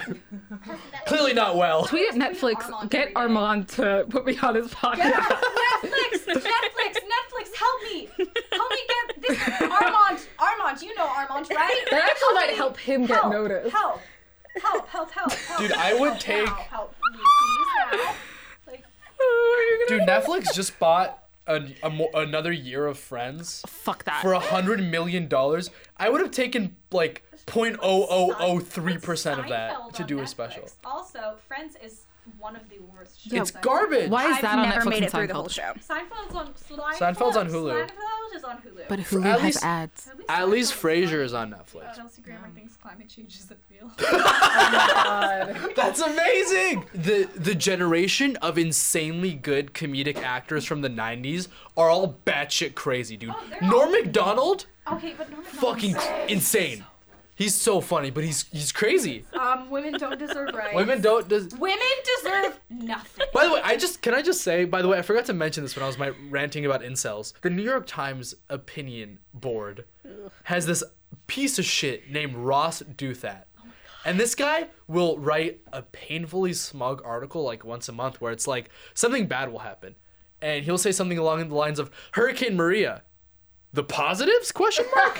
A: Clearly not well.
F: Tweet at Netflix.
G: Armand
F: Get
G: every day.
F: Armand to put me on his podcast.
G: Netflix, Netflix, Netflix, help me. Help me get this Armand. Armand, you know Armand, right?
F: That actually might help him get
G: help,
F: noticed.
G: Help. Help, help, help, help.
A: Dude, I would
G: help
A: take-
G: Now, help me, please, now. Like,
A: Dude, Netflix just bought an, a mo- another year of Friends
F: Fuck that.
A: for a hundred million dollars. I would have taken like 0.0003 percent of that
G: Seinfeld
A: to
G: on
A: do a
G: Netflix.
A: special.
G: Also, Friends is one of the worst shows.
A: It's
G: I've-
A: garbage.
F: Why is
E: I've
F: that on
E: never
F: Netflix
E: made
F: and
E: it through the
F: Seinfeld?
E: whole show.
G: Seinfeld's on Seinfeld,
A: Seinfeld's on Hulu.
G: Seinfeld is on Hulu.
C: But Hulu
A: at
C: has
A: least-
C: ads.
A: At least Frasier
G: Frasier
A: is on Netflix.
D: Kelsey Grammer thinks climate change isn't real.
A: That's amazing. The the generation of insanely good comedic actors from the '90s are all batshit crazy, dude.
G: they're all-
A: Norm Macdonald,
G: Okay, but Norman
A: fucking insane. Hea's so funny, but he's he's crazy.
G: Um, women don't deserve rights.
A: Women don't. Does,
G: Women deserve nothing.
A: by the way, I just can I just say. By the way, I forgot to mention this when I was my ranting about incels. The New York Times opinion board has this piece of shit named Ross Douthat. And this guy will write a painfully smug article like once a month where it's like something bad will happen. And he'll say something along the lines of Hurricane Maria, the positives question mark?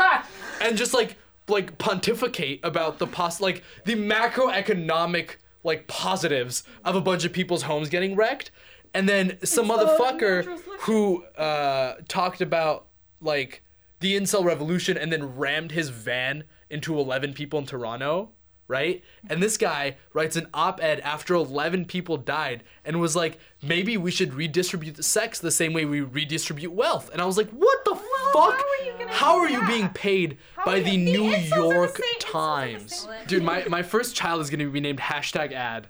A: and just like like pontificate about the pos like the macroeconomic like positives of a bunch of people's homes getting wrecked. And then some motherfucker who uh, talked about like the incel revolution and then rammed his van into 11 people in Toronto, right? And this guy writes an op ed after 11 people died and was like, maybe we should redistribute the sex the same way we redistribute wealth. And I was like, what the fuck? How are you, being paid by the New York Times? Dude, my, my first child is going to be named hashtag ad,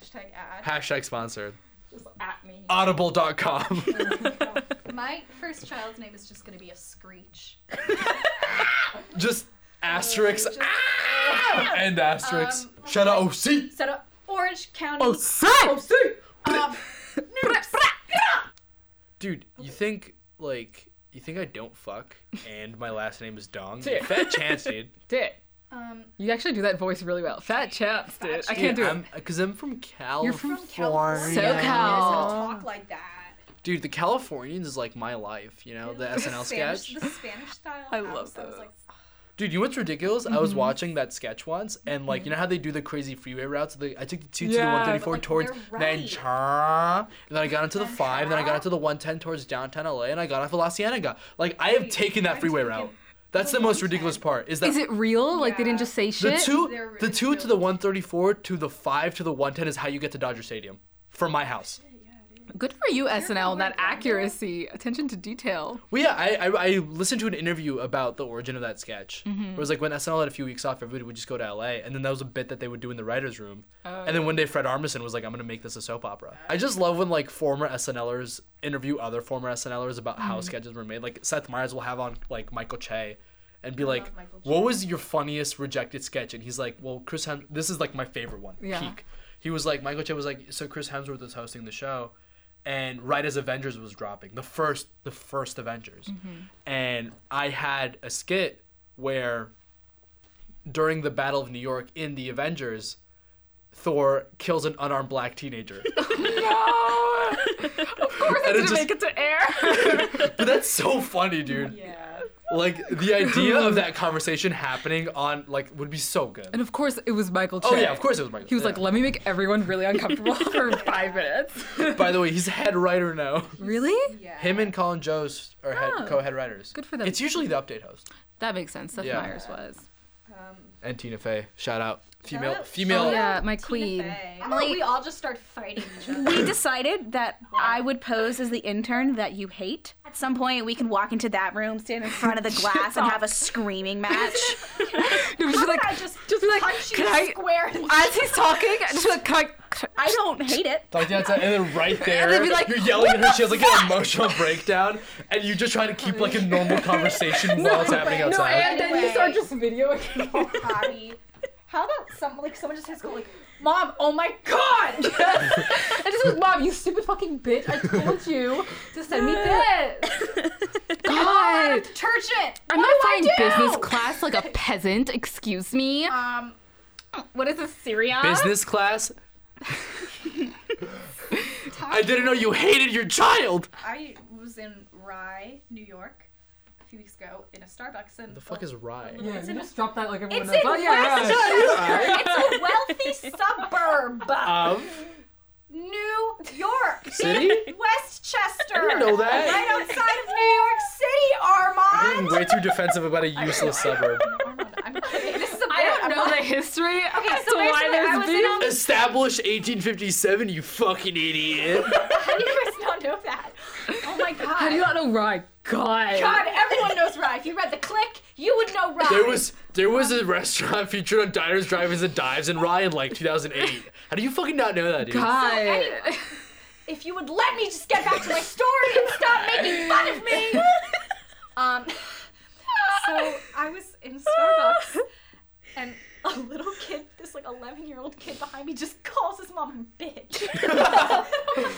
D: Hashtag ad.
A: hashtag sponsored,
D: Just at me.
A: audible.com.
D: My first child's name is just gonna be a screech.
A: Just asterisk ah! and asterisk. Shut up, OC.
D: Set up Orange County.
A: Oh, Dude, you think like you think I don't fuck and my last name is Dong? Fat chance, dude.
F: Dude,
D: Um,
F: you actually do that voice really well. Fat chaps, dude. I can't do it.
A: Because I'm from California.
F: from
D: California.
F: SoCal.
G: Talk like that.
A: Dude, the Californians is like my life, you know, the SNL
D: Spanish,
A: sketch.
D: The Spanish style.
F: I love
D: house, I was
F: those.
D: like,
A: Dude, you know what's ridiculous? I
D: Mm-hmm.
A: was watching that sketch once, and like, you know how they do the crazy freeway routes? They, I took the 2 to the
F: Yeah,
A: 134
D: but, Mm-hmm. like,
A: towards
D: they're right.
A: Nancha, and then I got onto the 5, then I got onto the 110 towards downtown LA, and I got off of La Cienega. Like, I have taken that freeway route. That's the most ridiculous part. Is that
F: Is it real? Like they didn't just say
A: the
F: shit?
A: two,
D: They're
A: the two to the 134 to the 5 to the 110 is how you get to Dodger Stadium from my house.
F: Good for you, SNL, and that accuracy, attention to detail.
A: Well, yeah, I, I, I listened to an interview about the origin of that sketch. Where it was like when SNL had a few weeks off, everybody would just go to LA, and then that was a bit that they would do in the writers' room. and then one day, Fred Armisen was like, "I'm gonna make this a soap opera." I just love when like former SNLers interview other former SNLers about how sketches were made. Like Seth Meyers will have on like Michael Che, and be like, "What was your funniest rejected sketch?" And he's like, "Well, Chris Hem- this is like my favorite one.
F: Yeah.
A: Peak." He was like, Michael Che was like, "So Chris Hemsworth is hosting the show." and right as Avengers was dropping, the first the first Avengers.
F: Mm-hmm.
A: And I had a skit where during the Battle of New York in the Avengers, Thor kills an unarmed black teenager.
F: Of course, I
A: And it
F: didn't
A: just-
F: make it to air.
A: but that's so funny, dude. Yeah. Like the idea of that conversation happening on like would be so good.
F: and of course, it was Michael Che.
A: Oh yeah, of course it was Michael.
F: He was
A: yeah.
F: like, let me make everyone really uncomfortable for five minutes.
A: By the way, he's head writer now.
F: really?
A: Him and Colin Jost are head,
F: Oh.
A: co-head writers.
F: Good for them.
A: It's usually the update host.
F: That makes sense. Seth
A: Yeah.
F: Meyers was.
A: and Tina Fey. Shout out. Female female
F: Oh, yeah, my queen.
D: Emily, we all just start fighting each other.
E: We decided that I would pose as the intern that you hate. At some point, we can walk into that room, stand in front of the glass, and have a screaming match.
F: No, she's like,
D: I just,
F: just be like,
D: punch you
F: can I?
D: square in the
F: As he's talking, just be like, can I?
E: I don't hate it.
A: Talk to you outside, and then right there,
F: they'd be like,
A: you're yelling at her. She has like an emotional breakdown, and you just try to keep like a normal conversrsation while it's happening
F: No,
A: outside.
F: and then you start just videoing.
D: body. How about some like someone just has to go like, Mom, oh my god!
F: I just was, Mom, you stupid fucking bitch. I told you to send me this.
D: I'm
F: God.
D: detergent.
F: I'm
D: what
F: not flying
D: do I do?
F: business class like a peasant. Excuse me.
D: Um,
E: What is this, Syria?
A: Business class. I didn't know you hated your child.
D: I was in Rye, New York, a few weeks ago in a Starbucks, and
A: The fuck is rye?
D: Yeah, It's you in-
F: just drop that like everyone Oh,
D: it's in Westchester. it's a wealthy suburb.
A: Of
D: New York.
A: Um, city? I
D: Westchester.
A: didn't know that.
D: Right outside of New York
A: Being
D: City, Armand.
A: way too defensive about a useless suburb.
D: Armand, I'm, okay, this is a bit.
F: I don't know
D: I'm
F: the history.
D: Okay,
F: as
D: so
F: to why
D: basically I
F: there's
D: was
F: beef.
D: in a
A: Established 1857, you fucking idiot.
D: How do you guys not know that? Oh my god.
F: How do you not know right? God.
D: God, everyone knows Rye. If you read the click, you would know Rye.
A: There was there was a restaurant featured on Diners, Drivers, and Dives in Rye in like 2008. How do you fucking not know that, dude?
F: God.
D: If you would let me just get back to my story and stop making fun of me. Um. So I was in Starbucks, and a little kid, this like 11 year old kid behind me, just calls his mom a bitch. oh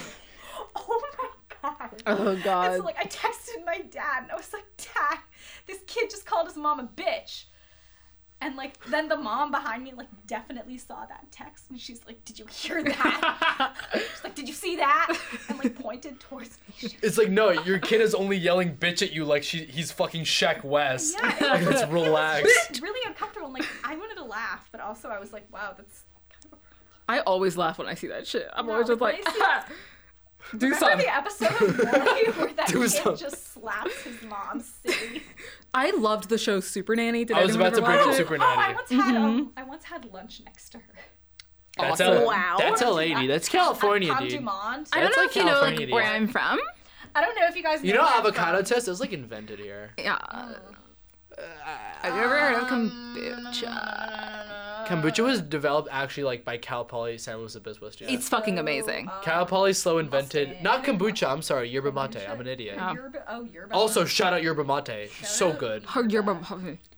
D: my god.
F: Oh
D: And so
F: God.
D: like I texted my dad and I was like, Dad, this kid just called his mom a bitch. And like then the mom behind me like definitely saw that text and she's like, Did you hear that? she's like, Did you see that? And like pointed towards me. She-
A: It's like no, your kid is only yelling bitch at you like she he's fucking Shaq West.
D: Yeah, it was
A: Let's relax.
D: really uncomfortable and like I wanted to laugh, but also I was like, Wow, that's kind of a problem.
F: I always laugh when I see that shit. I'm always
D: No,
F: just like,
D: when I see
F: "Ah, do
D: Remember
F: something.
D: the episode of Roy where that
A: Do
D: kid
A: something.
D: just slaps his mom silly?
F: I loved the show Super Nanny. Did
A: I was
F: anyone
A: about to
F: ever
A: bring up
F: watch it?
A: Super
D: Oh, I
A: Nanny.
D: once had um, I once had lunch next to her.
A: That's
F: Awesome.
A: LA.
E: Wow.
A: That's LA, dude. That's California,
D: At
A: dude.
D: Pondumont.
F: I
A: That's
F: don't know
A: like
F: if you know like
A: California,
F: where
A: dude.
F: I'm from.
D: I don't know if you guys
A: You know
D: where I'm
A: avocado
D: from.
A: toast? It was like invented here.
F: Yeah. Have you ever heard of kombucha?
A: Kombucha was developed actually like by Cal Poly San Luis Obispo students.
F: It's fucking amazing.
A: Cal Poly slow invented not kombucha. I'm sorry, yerba mate. I'm an idiot.
F: Oh.
D: Yerba, oh, yerba.
A: Also, shout out yerba mate. So good.
F: Hard yerba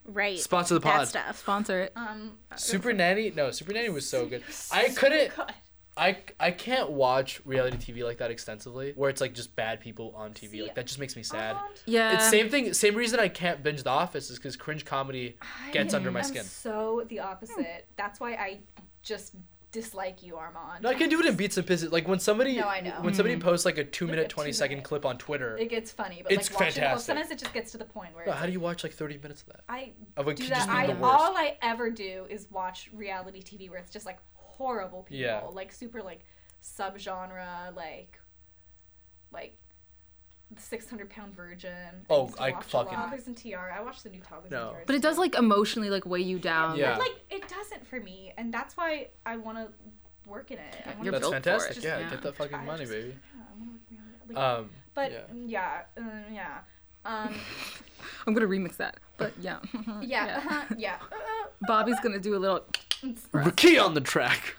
E: Right.
A: Sponsor the
E: That
A: pod.
E: stuff.
F: sponsor it.
D: um,
A: Super Nanny? No, Super Nanny was so good. I couldn't.
D: God.
A: I I can't watch reality TV like that extensively, where it's like just bad people on TV. like that just makes me sad.
D: Armand,
F: Yeah.
A: It's same thing. Same reason I can't binge The Office is because cringe comedy gets under my
D: I'm
A: skin.
D: so the opposite. That's why I just dislike you, Armand.
A: No, I can do it in beats and pisses. Like when somebody
D: No, I know.
A: when somebody posts like a two minute
D: a
A: twenty second
D: two-minute.
A: clip on Twitter.
D: It gets funny, but
A: It's
D: like watching
A: fantastic.
D: It, well, sometimes it just gets to the point where
A: No,
D: it's
A: how do you watch like thirty minutes of that?
D: I
A: Of like
D: do
A: just
D: that.
A: being
D: I
A: the worst.
D: all I ever do is watch reality TV where it's just like horrible people,
A: Yeah.
D: like super like subgenre, like like the six hundred pound virgin.
A: Oh,
D: used to
A: I
D: watch a
A: fucking-
D: lot. toddlers and TR. I watched the new toddlers
A: No.
D: and TR.
F: But it does like emotionally like weigh you down.
A: Yeah.
D: like it doesn't for me, and that's why I want to work in it. I want
F: You're
D: to
A: That's
F: built for it,
A: fantastic.
F: just-
A: yeah,
F: yeah.
A: get that fucking
D: I
A: money,
D: just-
A: baby.
D: yeah, I wanna work in it. Like,
A: Um,
D: but
A: yeah.
D: yeah, um, yeah. Um,
F: I'm gonna remix that. But yeah.
D: yeah,
F: Yeah.
D: uh-huh, yeah. uh-uh.
F: Bobby's gonna do a little
A: Ricky on the track.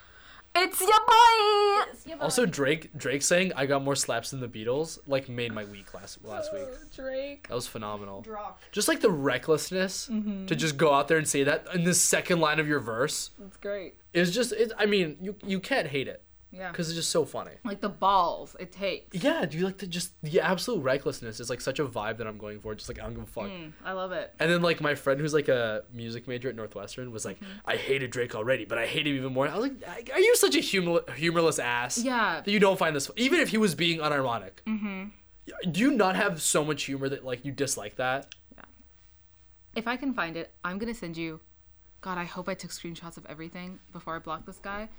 F: It's your boy!
D: Yeah, but,
A: Also, Drake Drake saying I got more slaps than the Beatles like made my week last last week.
F: Drake.
A: That was phenomenal.
D: Draw.
A: Just like the recklessness to just go out there and say that in the second line of your verse
F: That's great.
A: is just. It, I mean, you you can't hate it
F: Yeah.
A: because it's just so funny.
F: Like the balls it takes.
A: Yeah, do you like the just the absolute recklessness is like such a vibe that I'm going for. Just like I don't give a fuck.
F: I love it.
A: And then like my friend who's like a music major at Northwestern was like, I hated Drake already, but I hate him even more. I was like, "I- Are you such a humor- humorless ass?
F: Yeah.
A: That you don't find this even if he was being unironic. Mm-hmm. Do you not have so much humor that like you dislike that?
F: If I can find it, I'm gonna send you. God, I hope I took screenshots of everything before I blocked this guy.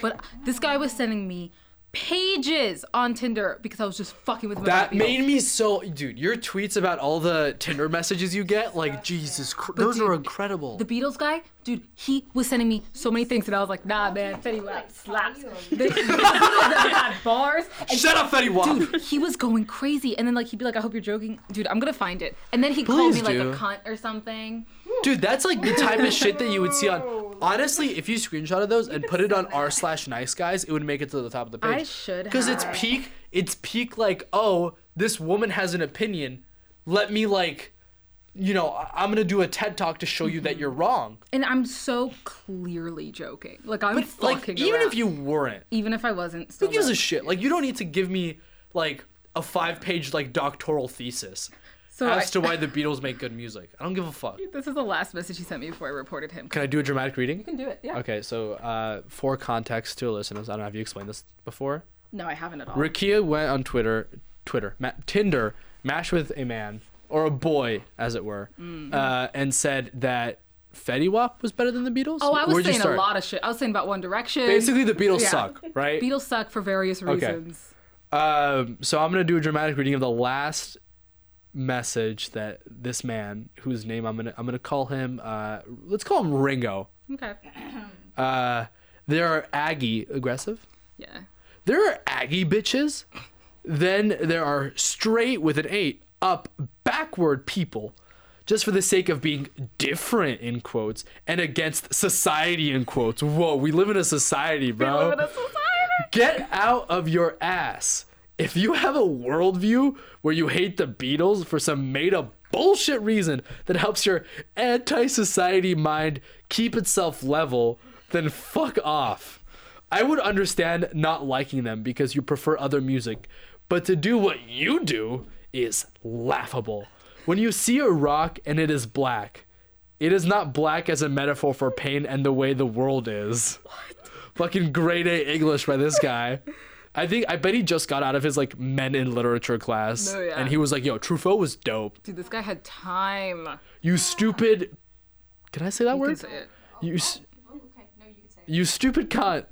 F: But this guy was sending me pages on Tinder because I was just fucking with him. about
A: That
F: Beatles.
A: made me so dude. Your tweets about all the Tinder messages you get, like Jesus, Christ, those are incredible.
F: the Beatles guy, dude, he was sending me so many things, and I was like, nah, man, Fetty Wap slaps. They- the Beatles that had bars. and
A: Shut up, Fetty Wap.
F: he was going crazy, and then like he'd be like, "I hope you're joking, dude. I'm gonna find it." And then he called
A: Please
F: me like
A: do.
F: a cunt or something.
A: Dude, that's like the type of shit that you would see on. Honestly, if you screenshotted those and put it on r slash nice guys, it would make it to the top of the page.
F: I should
A: Because it's
F: have.
A: peak. It's peak. Like, oh, this woman has an opinion. Let me like you know, I- I'm gonna do a TED talk to show Mm-hmm. you that you're wrong.
F: And I'm so clearly joking. Like I'm
A: But like,
F: fucking
A: even
F: around.
A: if you weren't,
F: even if I wasn't, still
A: who gives
F: not.
A: a shit? Like, you don't need to give me like a five-page like doctoral thesis
F: so
A: as
F: I-
A: to why the Beatles make good music. I don't give a fuck.
F: This is the last message he sent me before I reported him.
A: Can I do a dramatic reading?
F: do it. Yeah.
A: Okay, so uh, for context to our listeners, I don't know if you explained this before.
F: No, I haven't at all.
A: Rakia went on Twitter, Twitter, ma- Tinder, matched with a man or a boy, as it were, uh, and said that Fetty Wap was better than the Beatles.
F: oh, I was
A: Where'd you
F: saying a
A: start?
F: lot of shit. I was saying about One Direction.
A: Basically, the Beatles
F: Yeah.
A: suck, right?
F: Beatles suck for various reasons.
A: Um, so I'm gonna do a dramatic reading of the last message that this man, whose name I'm gonna I'm gonna call him, uh, let's call him Ringo.
F: Okay.
A: Uh, there are Aggie aggressive.
F: Yeah.
A: There are Aggie bitches. Then there are straight with an eight up backward people, just for the sake of being different in quotes and against society in quotes. Whoa, we live in a society, bro. Get out of your ass. If you have a worldview where you hate the Beatles for some made up bullshit reason that helps your anti society mind keep itself level, then fuck off. I would understand not liking them because you prefer other music, but to do what you do is laughable. When you see a rock and it is black, it is not black as a metaphor for pain and the way the world is fucking grade A English by this guy. I think I bet he just got out of his like men in literature class,
F: No, Oh, yeah.
A: and he was like, "Yo, Truffaut was dope.
F: Dude, this guy had time.
A: You stupid. Can I say that
F: You
A: word?
F: can say it.
A: You. s- You stupid cunt.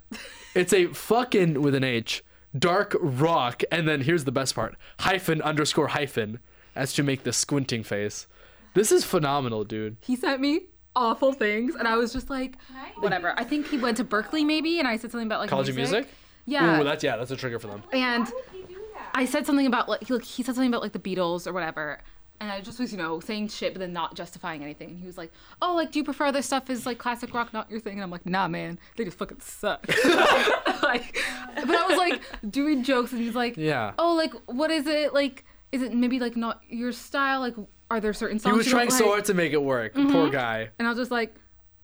A: It's a fucking with an H. Dark rock, and then here's the best part: hyphen underscore hyphen, as to make the squinting face. This is phenomenal, dude.
F: He sent me awful things, and I was just like, whatever. I think he went to Berkeley maybe, and I said something about like
A: College of music.
F: Yeah.
A: Ooh, that's yeah, that's a trigger for them.
F: and I said something about like he, like he said something about like the Beatles or whatever, and I just was you know saying shit but then not justifying anything. And he was like, "Oh, like do you prefer their stuff is like classic rock, not your thing?" And I'm like, "Nah, man, they just fucking suck." like, but I was like doing jokes, and he's like,
A: Yeah.
F: oh, like what is it like? Is it maybe like not your style? Like, are there certain songs
A: He was
F: you Mm-hmm. don't
A: trying so
F: like?"
A: hard to make it work. Poor guy.
F: And I was just like,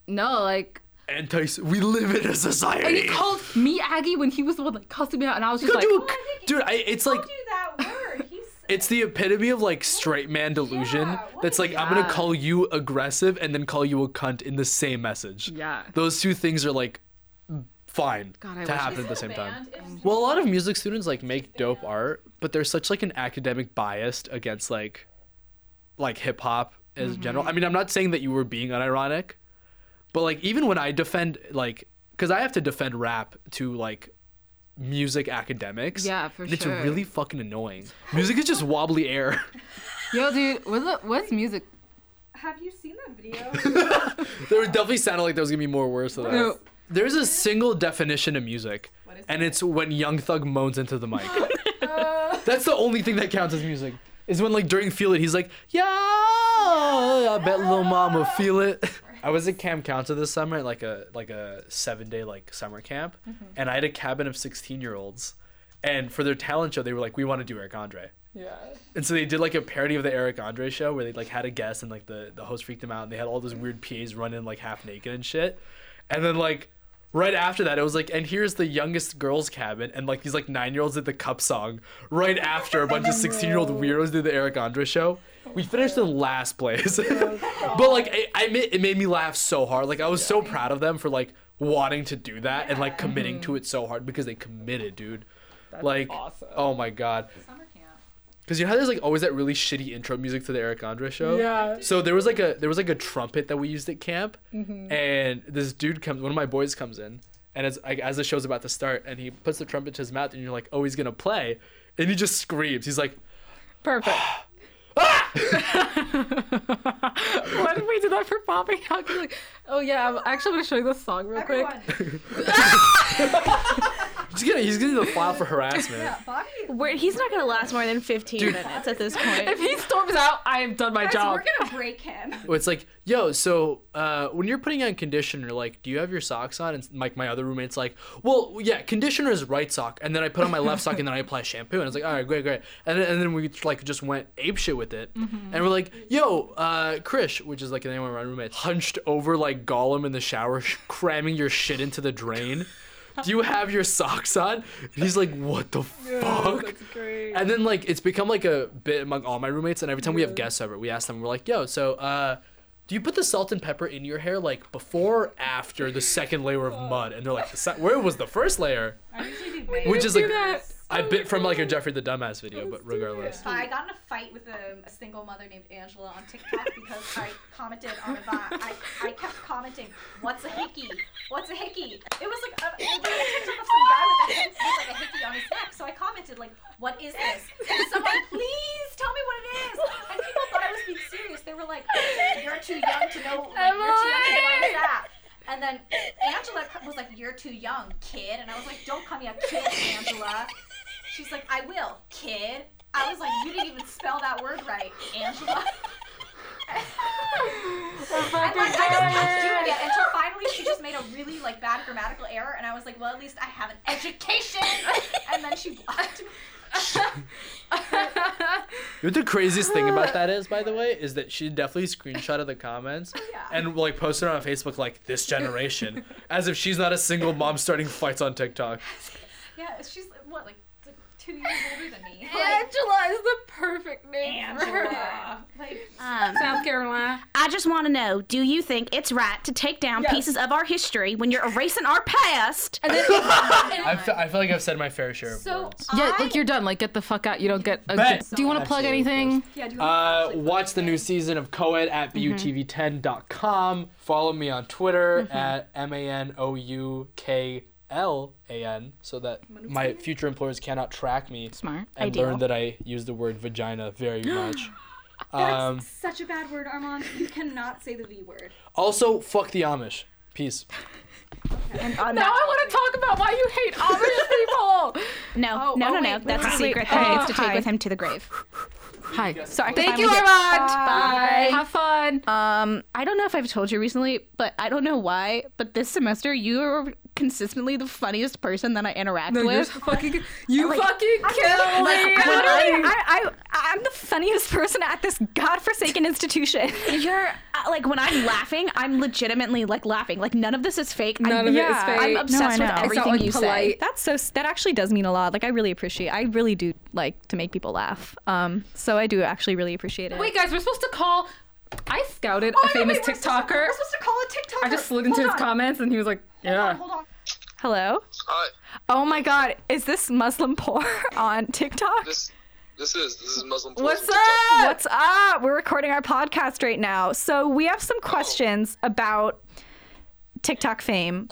F: no, like."
A: anti. We live in a society.
F: And he called me Aggie when he was the one like cussing me out, and I was just
A: Could
F: like, "Oh,
A: do a- dude, I, it's like
G: Do that word. He's
A: it's the epitome of like straight man delusion. that's like I'm gonna call you aggressive and then call you a cunt in the same message.
F: Yeah.
A: those two things are like fine
F: God, I
A: to
F: wish-
A: happen at the same time. Well, a lot of music students like make dope art, but there's such like an academic bias against like like hip hop as
F: Mm-hmm.
A: general. I mean, I'm not saying that you were being unironic, but like even when I defend like cuz I have to defend rap to like music academics.
F: Yeah, for
A: and It's
F: sure.
A: really fucking annoying. Music is just wobbly air.
F: Yo, dude, what's, the, what's music?
G: Have you seen that video?
A: there would definitely sounded like there was going to be more worse than that.
F: No.
A: There's a single definition of music, and it's when Young Thug moans into the mic. That's the only thing that counts as music. Is when like during Feel It, he's like, "Yeah, I bet little mama feel it." I was at Camp Counter this summer, like a like a seven day like summer camp, and I had a cabin of sixteen year olds, and for their talent show, they were like, "We want to do Eric Andre." And so they did like a parody of the Eric Andre show where they like had a guest and like the, the host freaked them out and they had all those weird PAs run in like half naked and shit. And then like right after that it was like and here's the youngest girls cabin and like these like nine year olds did the cup song right after a bunch of sixteen year old weirdos did the Eric Andre show. We finished in last place. but like I, I ma- it made me laugh so hard. Like I was so proud of them for like wanting to do that and like committing to it so hard because they committed, dude. like oh my god. Cause you know how there's like always that really shitty intro music to the Eric Andre show. Yeah. So there was like a there was like a trumpet that we used at camp, and this dude comes, one of my boys comes in, and as like, as the show's about to start, and he puts the trumpet to his mouth, and you're like, oh, he's gonna play, and he just screams. He's like,
F: Perfect.
D: Ah!
F: Why did we do that for Bobby? How could, like, oh yeah, I'm actually gonna show you this song real quick.
A: He's gonna he's gonna do the file for harassment.
D: Bobby,
H: We're, he's not going to last more than 15 minutes at this
F: If
H: point.
F: he storms out, I have done my
D: guys,
F: job.
D: we're gonna break him.
A: Well, It's like, yo, so uh, when you're putting on conditioner, like, do you have your socks on? And like my other roommate's like, well, yeah, conditioner is right sock, and then I put on my left sock, and then I apply shampoo, and I was like, all right, great, great, and then, and then we like just went ape shit with it, and we're like, yo, uh, Krish, which is like the name of my roommate, hunched over like Gollum in the shower, sh- cramming your shit into the drain. Do you have your socks on? And he's like, what the fuck? And then like it's become like a bit among all my roommates, and every time we have guests over, we ask them, we're like, "Yo, so uh, do you put the salt and pepper in your hair like before or after the second layer of mud?" And they're like, the se- "Where was the first layer?" Which is like, I bit from like a Jeffrey the Dumbass video, but regardless,
D: I got in a fight with um, a, a single mother named Angela on TikTok because I commented on a vi- I, I kept commenting, "What's a hickey? What's a hickey?" It was like a, it was a TikTok of some guy with, a, with like a hickey on his neck. So I commented like, "What is this?" And someone, please tell me what it is. And people thought I was being serious. They were like, "You're too young to know. Like, you're too young to know what is that." And then Angela was like, "You're too young, kid," and I was like, "Don't call me a kid, Angela." She's like, I will, kid. I was like, you didn't even spell that word right, Angela. and like, I just kept doing it until finally she just made a really like bad grammatical error, and I was like, well, at least I have an education. and then she blocked me.
A: You know what the craziest thing about that is, by the way, is that she definitely screenshotted the comments and like posted it on Facebook like this generation, as if she's not a single mom starting fights on TikTok.
D: Yeah, she's what like t- two years older than me.
G: Angela is the perfect name for her.
D: Like, like
E: Um,
F: South Carolina.
E: I just want to know: Do you think it's right to take down pieces of our history when you're erasing our past?
A: I fe- I feel like I've said my fair share of
D: so
A: words.
F: Yeah, like you're done. Like get the fuck out. You don't get. A,
A: Bet.
F: Do you want to plug
A: Absolutely.
F: anything?
D: yeah, do you
A: Uh, watch the new season of Coed at BUTV10.com. Follow me on Twitter at M A N O U K L A N so that my future employers cannot track me
F: Smart.
A: and
E: Ideal.
A: learn that I use the word vagina very much. um,
D: such a bad word, Armand. You cannot say the V word.
A: also, fuck the Amish. Peace.
F: Now I want to talk about why you hate Amish people.
E: No, no,
F: oh,
E: no,
F: wait,
E: no.
F: wait,
E: That's a
F: wait.
E: secret that he needs to
F: Hi.
E: take with him to the grave.
F: Hi.
E: Sorry.
F: Thank you, Armand. Bye. Have fun.
H: Um,
E: I don't know if I've told you recently, but I don't know why, but this semester you are consistently the funniest person that I interact
F: No, you're
E: with.
F: so fucking. You fucking
H: like,
F: kill me.
H: literally, I, I, I'm the funniest person at this godforsaken institution.
E: You're uh, like when I'm laughing, I'm legitimately like laughing. Like none of this is fake.
F: None
E: I'm,
F: of it is
H: Yeah,
F: fake.
E: I'm obsessed
H: No, I
E: with
H: know. It's
E: everything
H: not,
F: like,
E: you
F: polite.
H: That's so. That actually does mean a lot. Like I really appreciate. I really do like to make people laugh. Um, so I do actually really appreciate it.
F: Wait, guys, we're supposed to call. I scouted a
D: Oh my God,
F: famous
D: wait, we're supposed to-
F: TikToker.
D: We're supposed to call a TikToker.
F: I just slid into his
D: Hold on,
F: comments and he was like,
D: Hold on,
F: "Yeah."
D: hold on.
H: Hello.
I: Hi,
H: Oh my God, is this Muslim porn on TikTok?
I: this this is this is Muslim.
F: What's
I: Tourism.
F: up?
H: What's up? We're recording our podcast right now, so we have
I: Oh.
H: some questions about TikTok fame.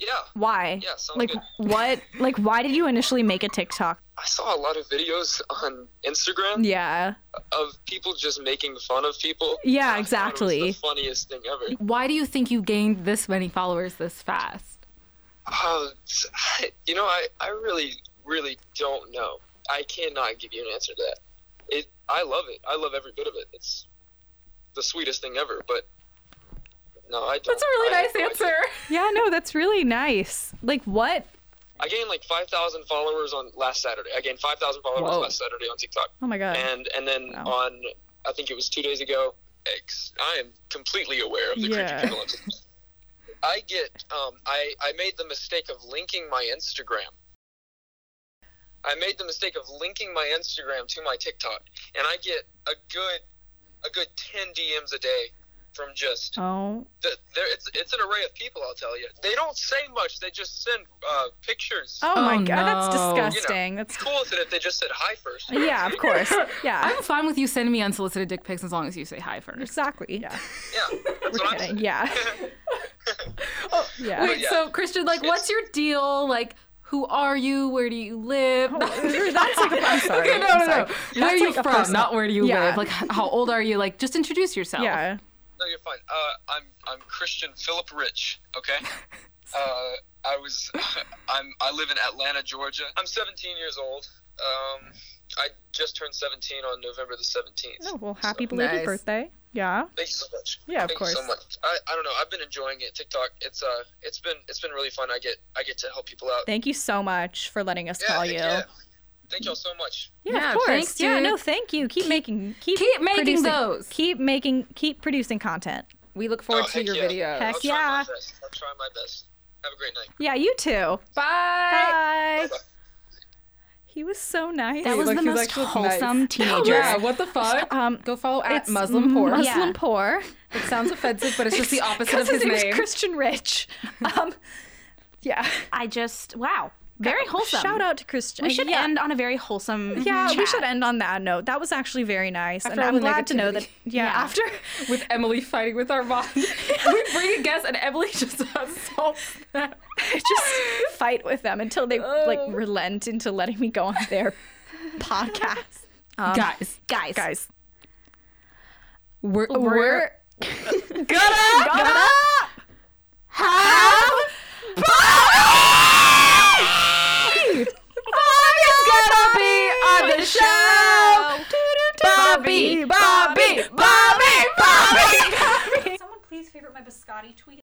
I: Yeah,
H: Why?
I: Yeah, sounds
H: like
I: good.
H: what? Like why did you initially make a TikTok?
I: I saw a lot of videos on Instagram
H: Yeah.
I: of people just making fun of people.
H: Yeah,
I: I thought it was
H: exactly.
I: the funniest thing ever.
F: Why do you think you gained this many followers this fast?
I: Uh, you know, I I really really don't know. I cannot give you an answer to that. It I love it. I love every bit of it. It's the sweetest thing ever. But no, I don't.
F: That's a really
I: I have
F: nice
I: no idea.
F: answer.
H: Yeah. No, that's really nice. Like what?
I: I gained like five thousand followers on last Saturday. I gained five thousand followers last Saturday on TikTok.
H: Oh my God.
I: and and then on I think it was two days ago. X, I am completely aware of the
H: Yeah.
I: creepy people. on TikTok. I get um, I I made the mistake of linking my Instagram. I made the mistake of linking my Instagram to my TikTok, and I get a good a good ten DMs a day from just
H: Oh.
I: the, there. It's it's an array of people. I'll tell you. They don't say much. They just send uh, pictures.
H: Oh, my
F: Oh,
H: god, that's
F: no.
H: disgusting. That's
I: It's cool with it if they just said hi first.
H: yeah, of course. Yeah,
F: I'm fine with you sending me unsolicited dick pics as long as you say hi first.
H: exactly. Yeah,
I: Yeah, that's what I'm saying.
H: yeah, yeah.
F: Wait,
I: yeah.
F: so Christian, like, what's your deal? Like, who are you? Where do you live?
H: that's like a, I'm sorry.
F: Okay, no,
H: I'm
F: no, no.
H: sorry.
F: Where are
H: That's
F: you
H: like a
F: from?
H: personal-
F: Not where do you
H: Yeah.
F: live? Like, h- how old are you? Like, just introduce yourself.
H: Yeah.
I: No, you're fine. Uh, I'm I'm Christian Philip Rich. Okay. uh, I was, I'm, I live in Atlanta, Georgia. I'm 17 years old. Um, I just turned 17 on November the 17th.
D: Oh, well, happy belated
F: Nice.
D: birthday. Yeah.
I: Thank you so much.
D: Yeah, of
I: Thank you so
D: course.
I: much. I, I don't know. I've been enjoying it. TikTok. It's uh, it's been it's been really fun. I get I get to help people out.
D: Thank you so much for letting us call
I: heck
D: you.
I: yeah. Thank y'all so much.
D: Yeah,
F: Yeah,
D: of course.
F: thanks,
D: yeah,
F: dude.
D: no, thank you. Keep, making, keep,
F: keep making
D: producing-
F: those.
D: Keep making, keep producing content.
F: We look forward
I: Oh,
F: to
I: heck
F: your
I: yeah.
F: videos.
D: Heck
I: I'll try
D: yeah.
I: my best. I'll try my best. Have a great night.
D: Yeah, you too.
F: Bye.
D: Bye. He was so nice.
E: That was
F: like,
E: the
F: he's
E: most
F: actually nice.
E: wholesome teenager.
F: Yeah, what the fuck?
D: Um,
F: Go follow at
D: it's
F: Muslim Porn.
D: Muslim
E: Yeah.
D: poor.
F: It sounds offensive, but it's just the opposite of
D: Because
F: his
D: his name's
F: name.
D: Christian Rich. Um, yeah.
E: I just wow, very wholesome.
D: Shout out to Christian.
E: We should
D: yeah.
E: end on a very wholesome.
D: Yeah, we
E: chat.
D: should end on that note. That was actually very nice,
F: After all
D: and I'm
F: the
D: glad to know
F: negativity.
D: that. Yeah, after
F: with Emily fighting with Armand. we bring a guest and Emily just assaults them.
D: just fight with them until they like relent into letting me go on their podcast.
F: guys,
E: guys.
D: Guys,
F: we're, we're,
D: we're
F: gonna, have Bobby! Bobby's gonna be on the show. Bobby, Bobby,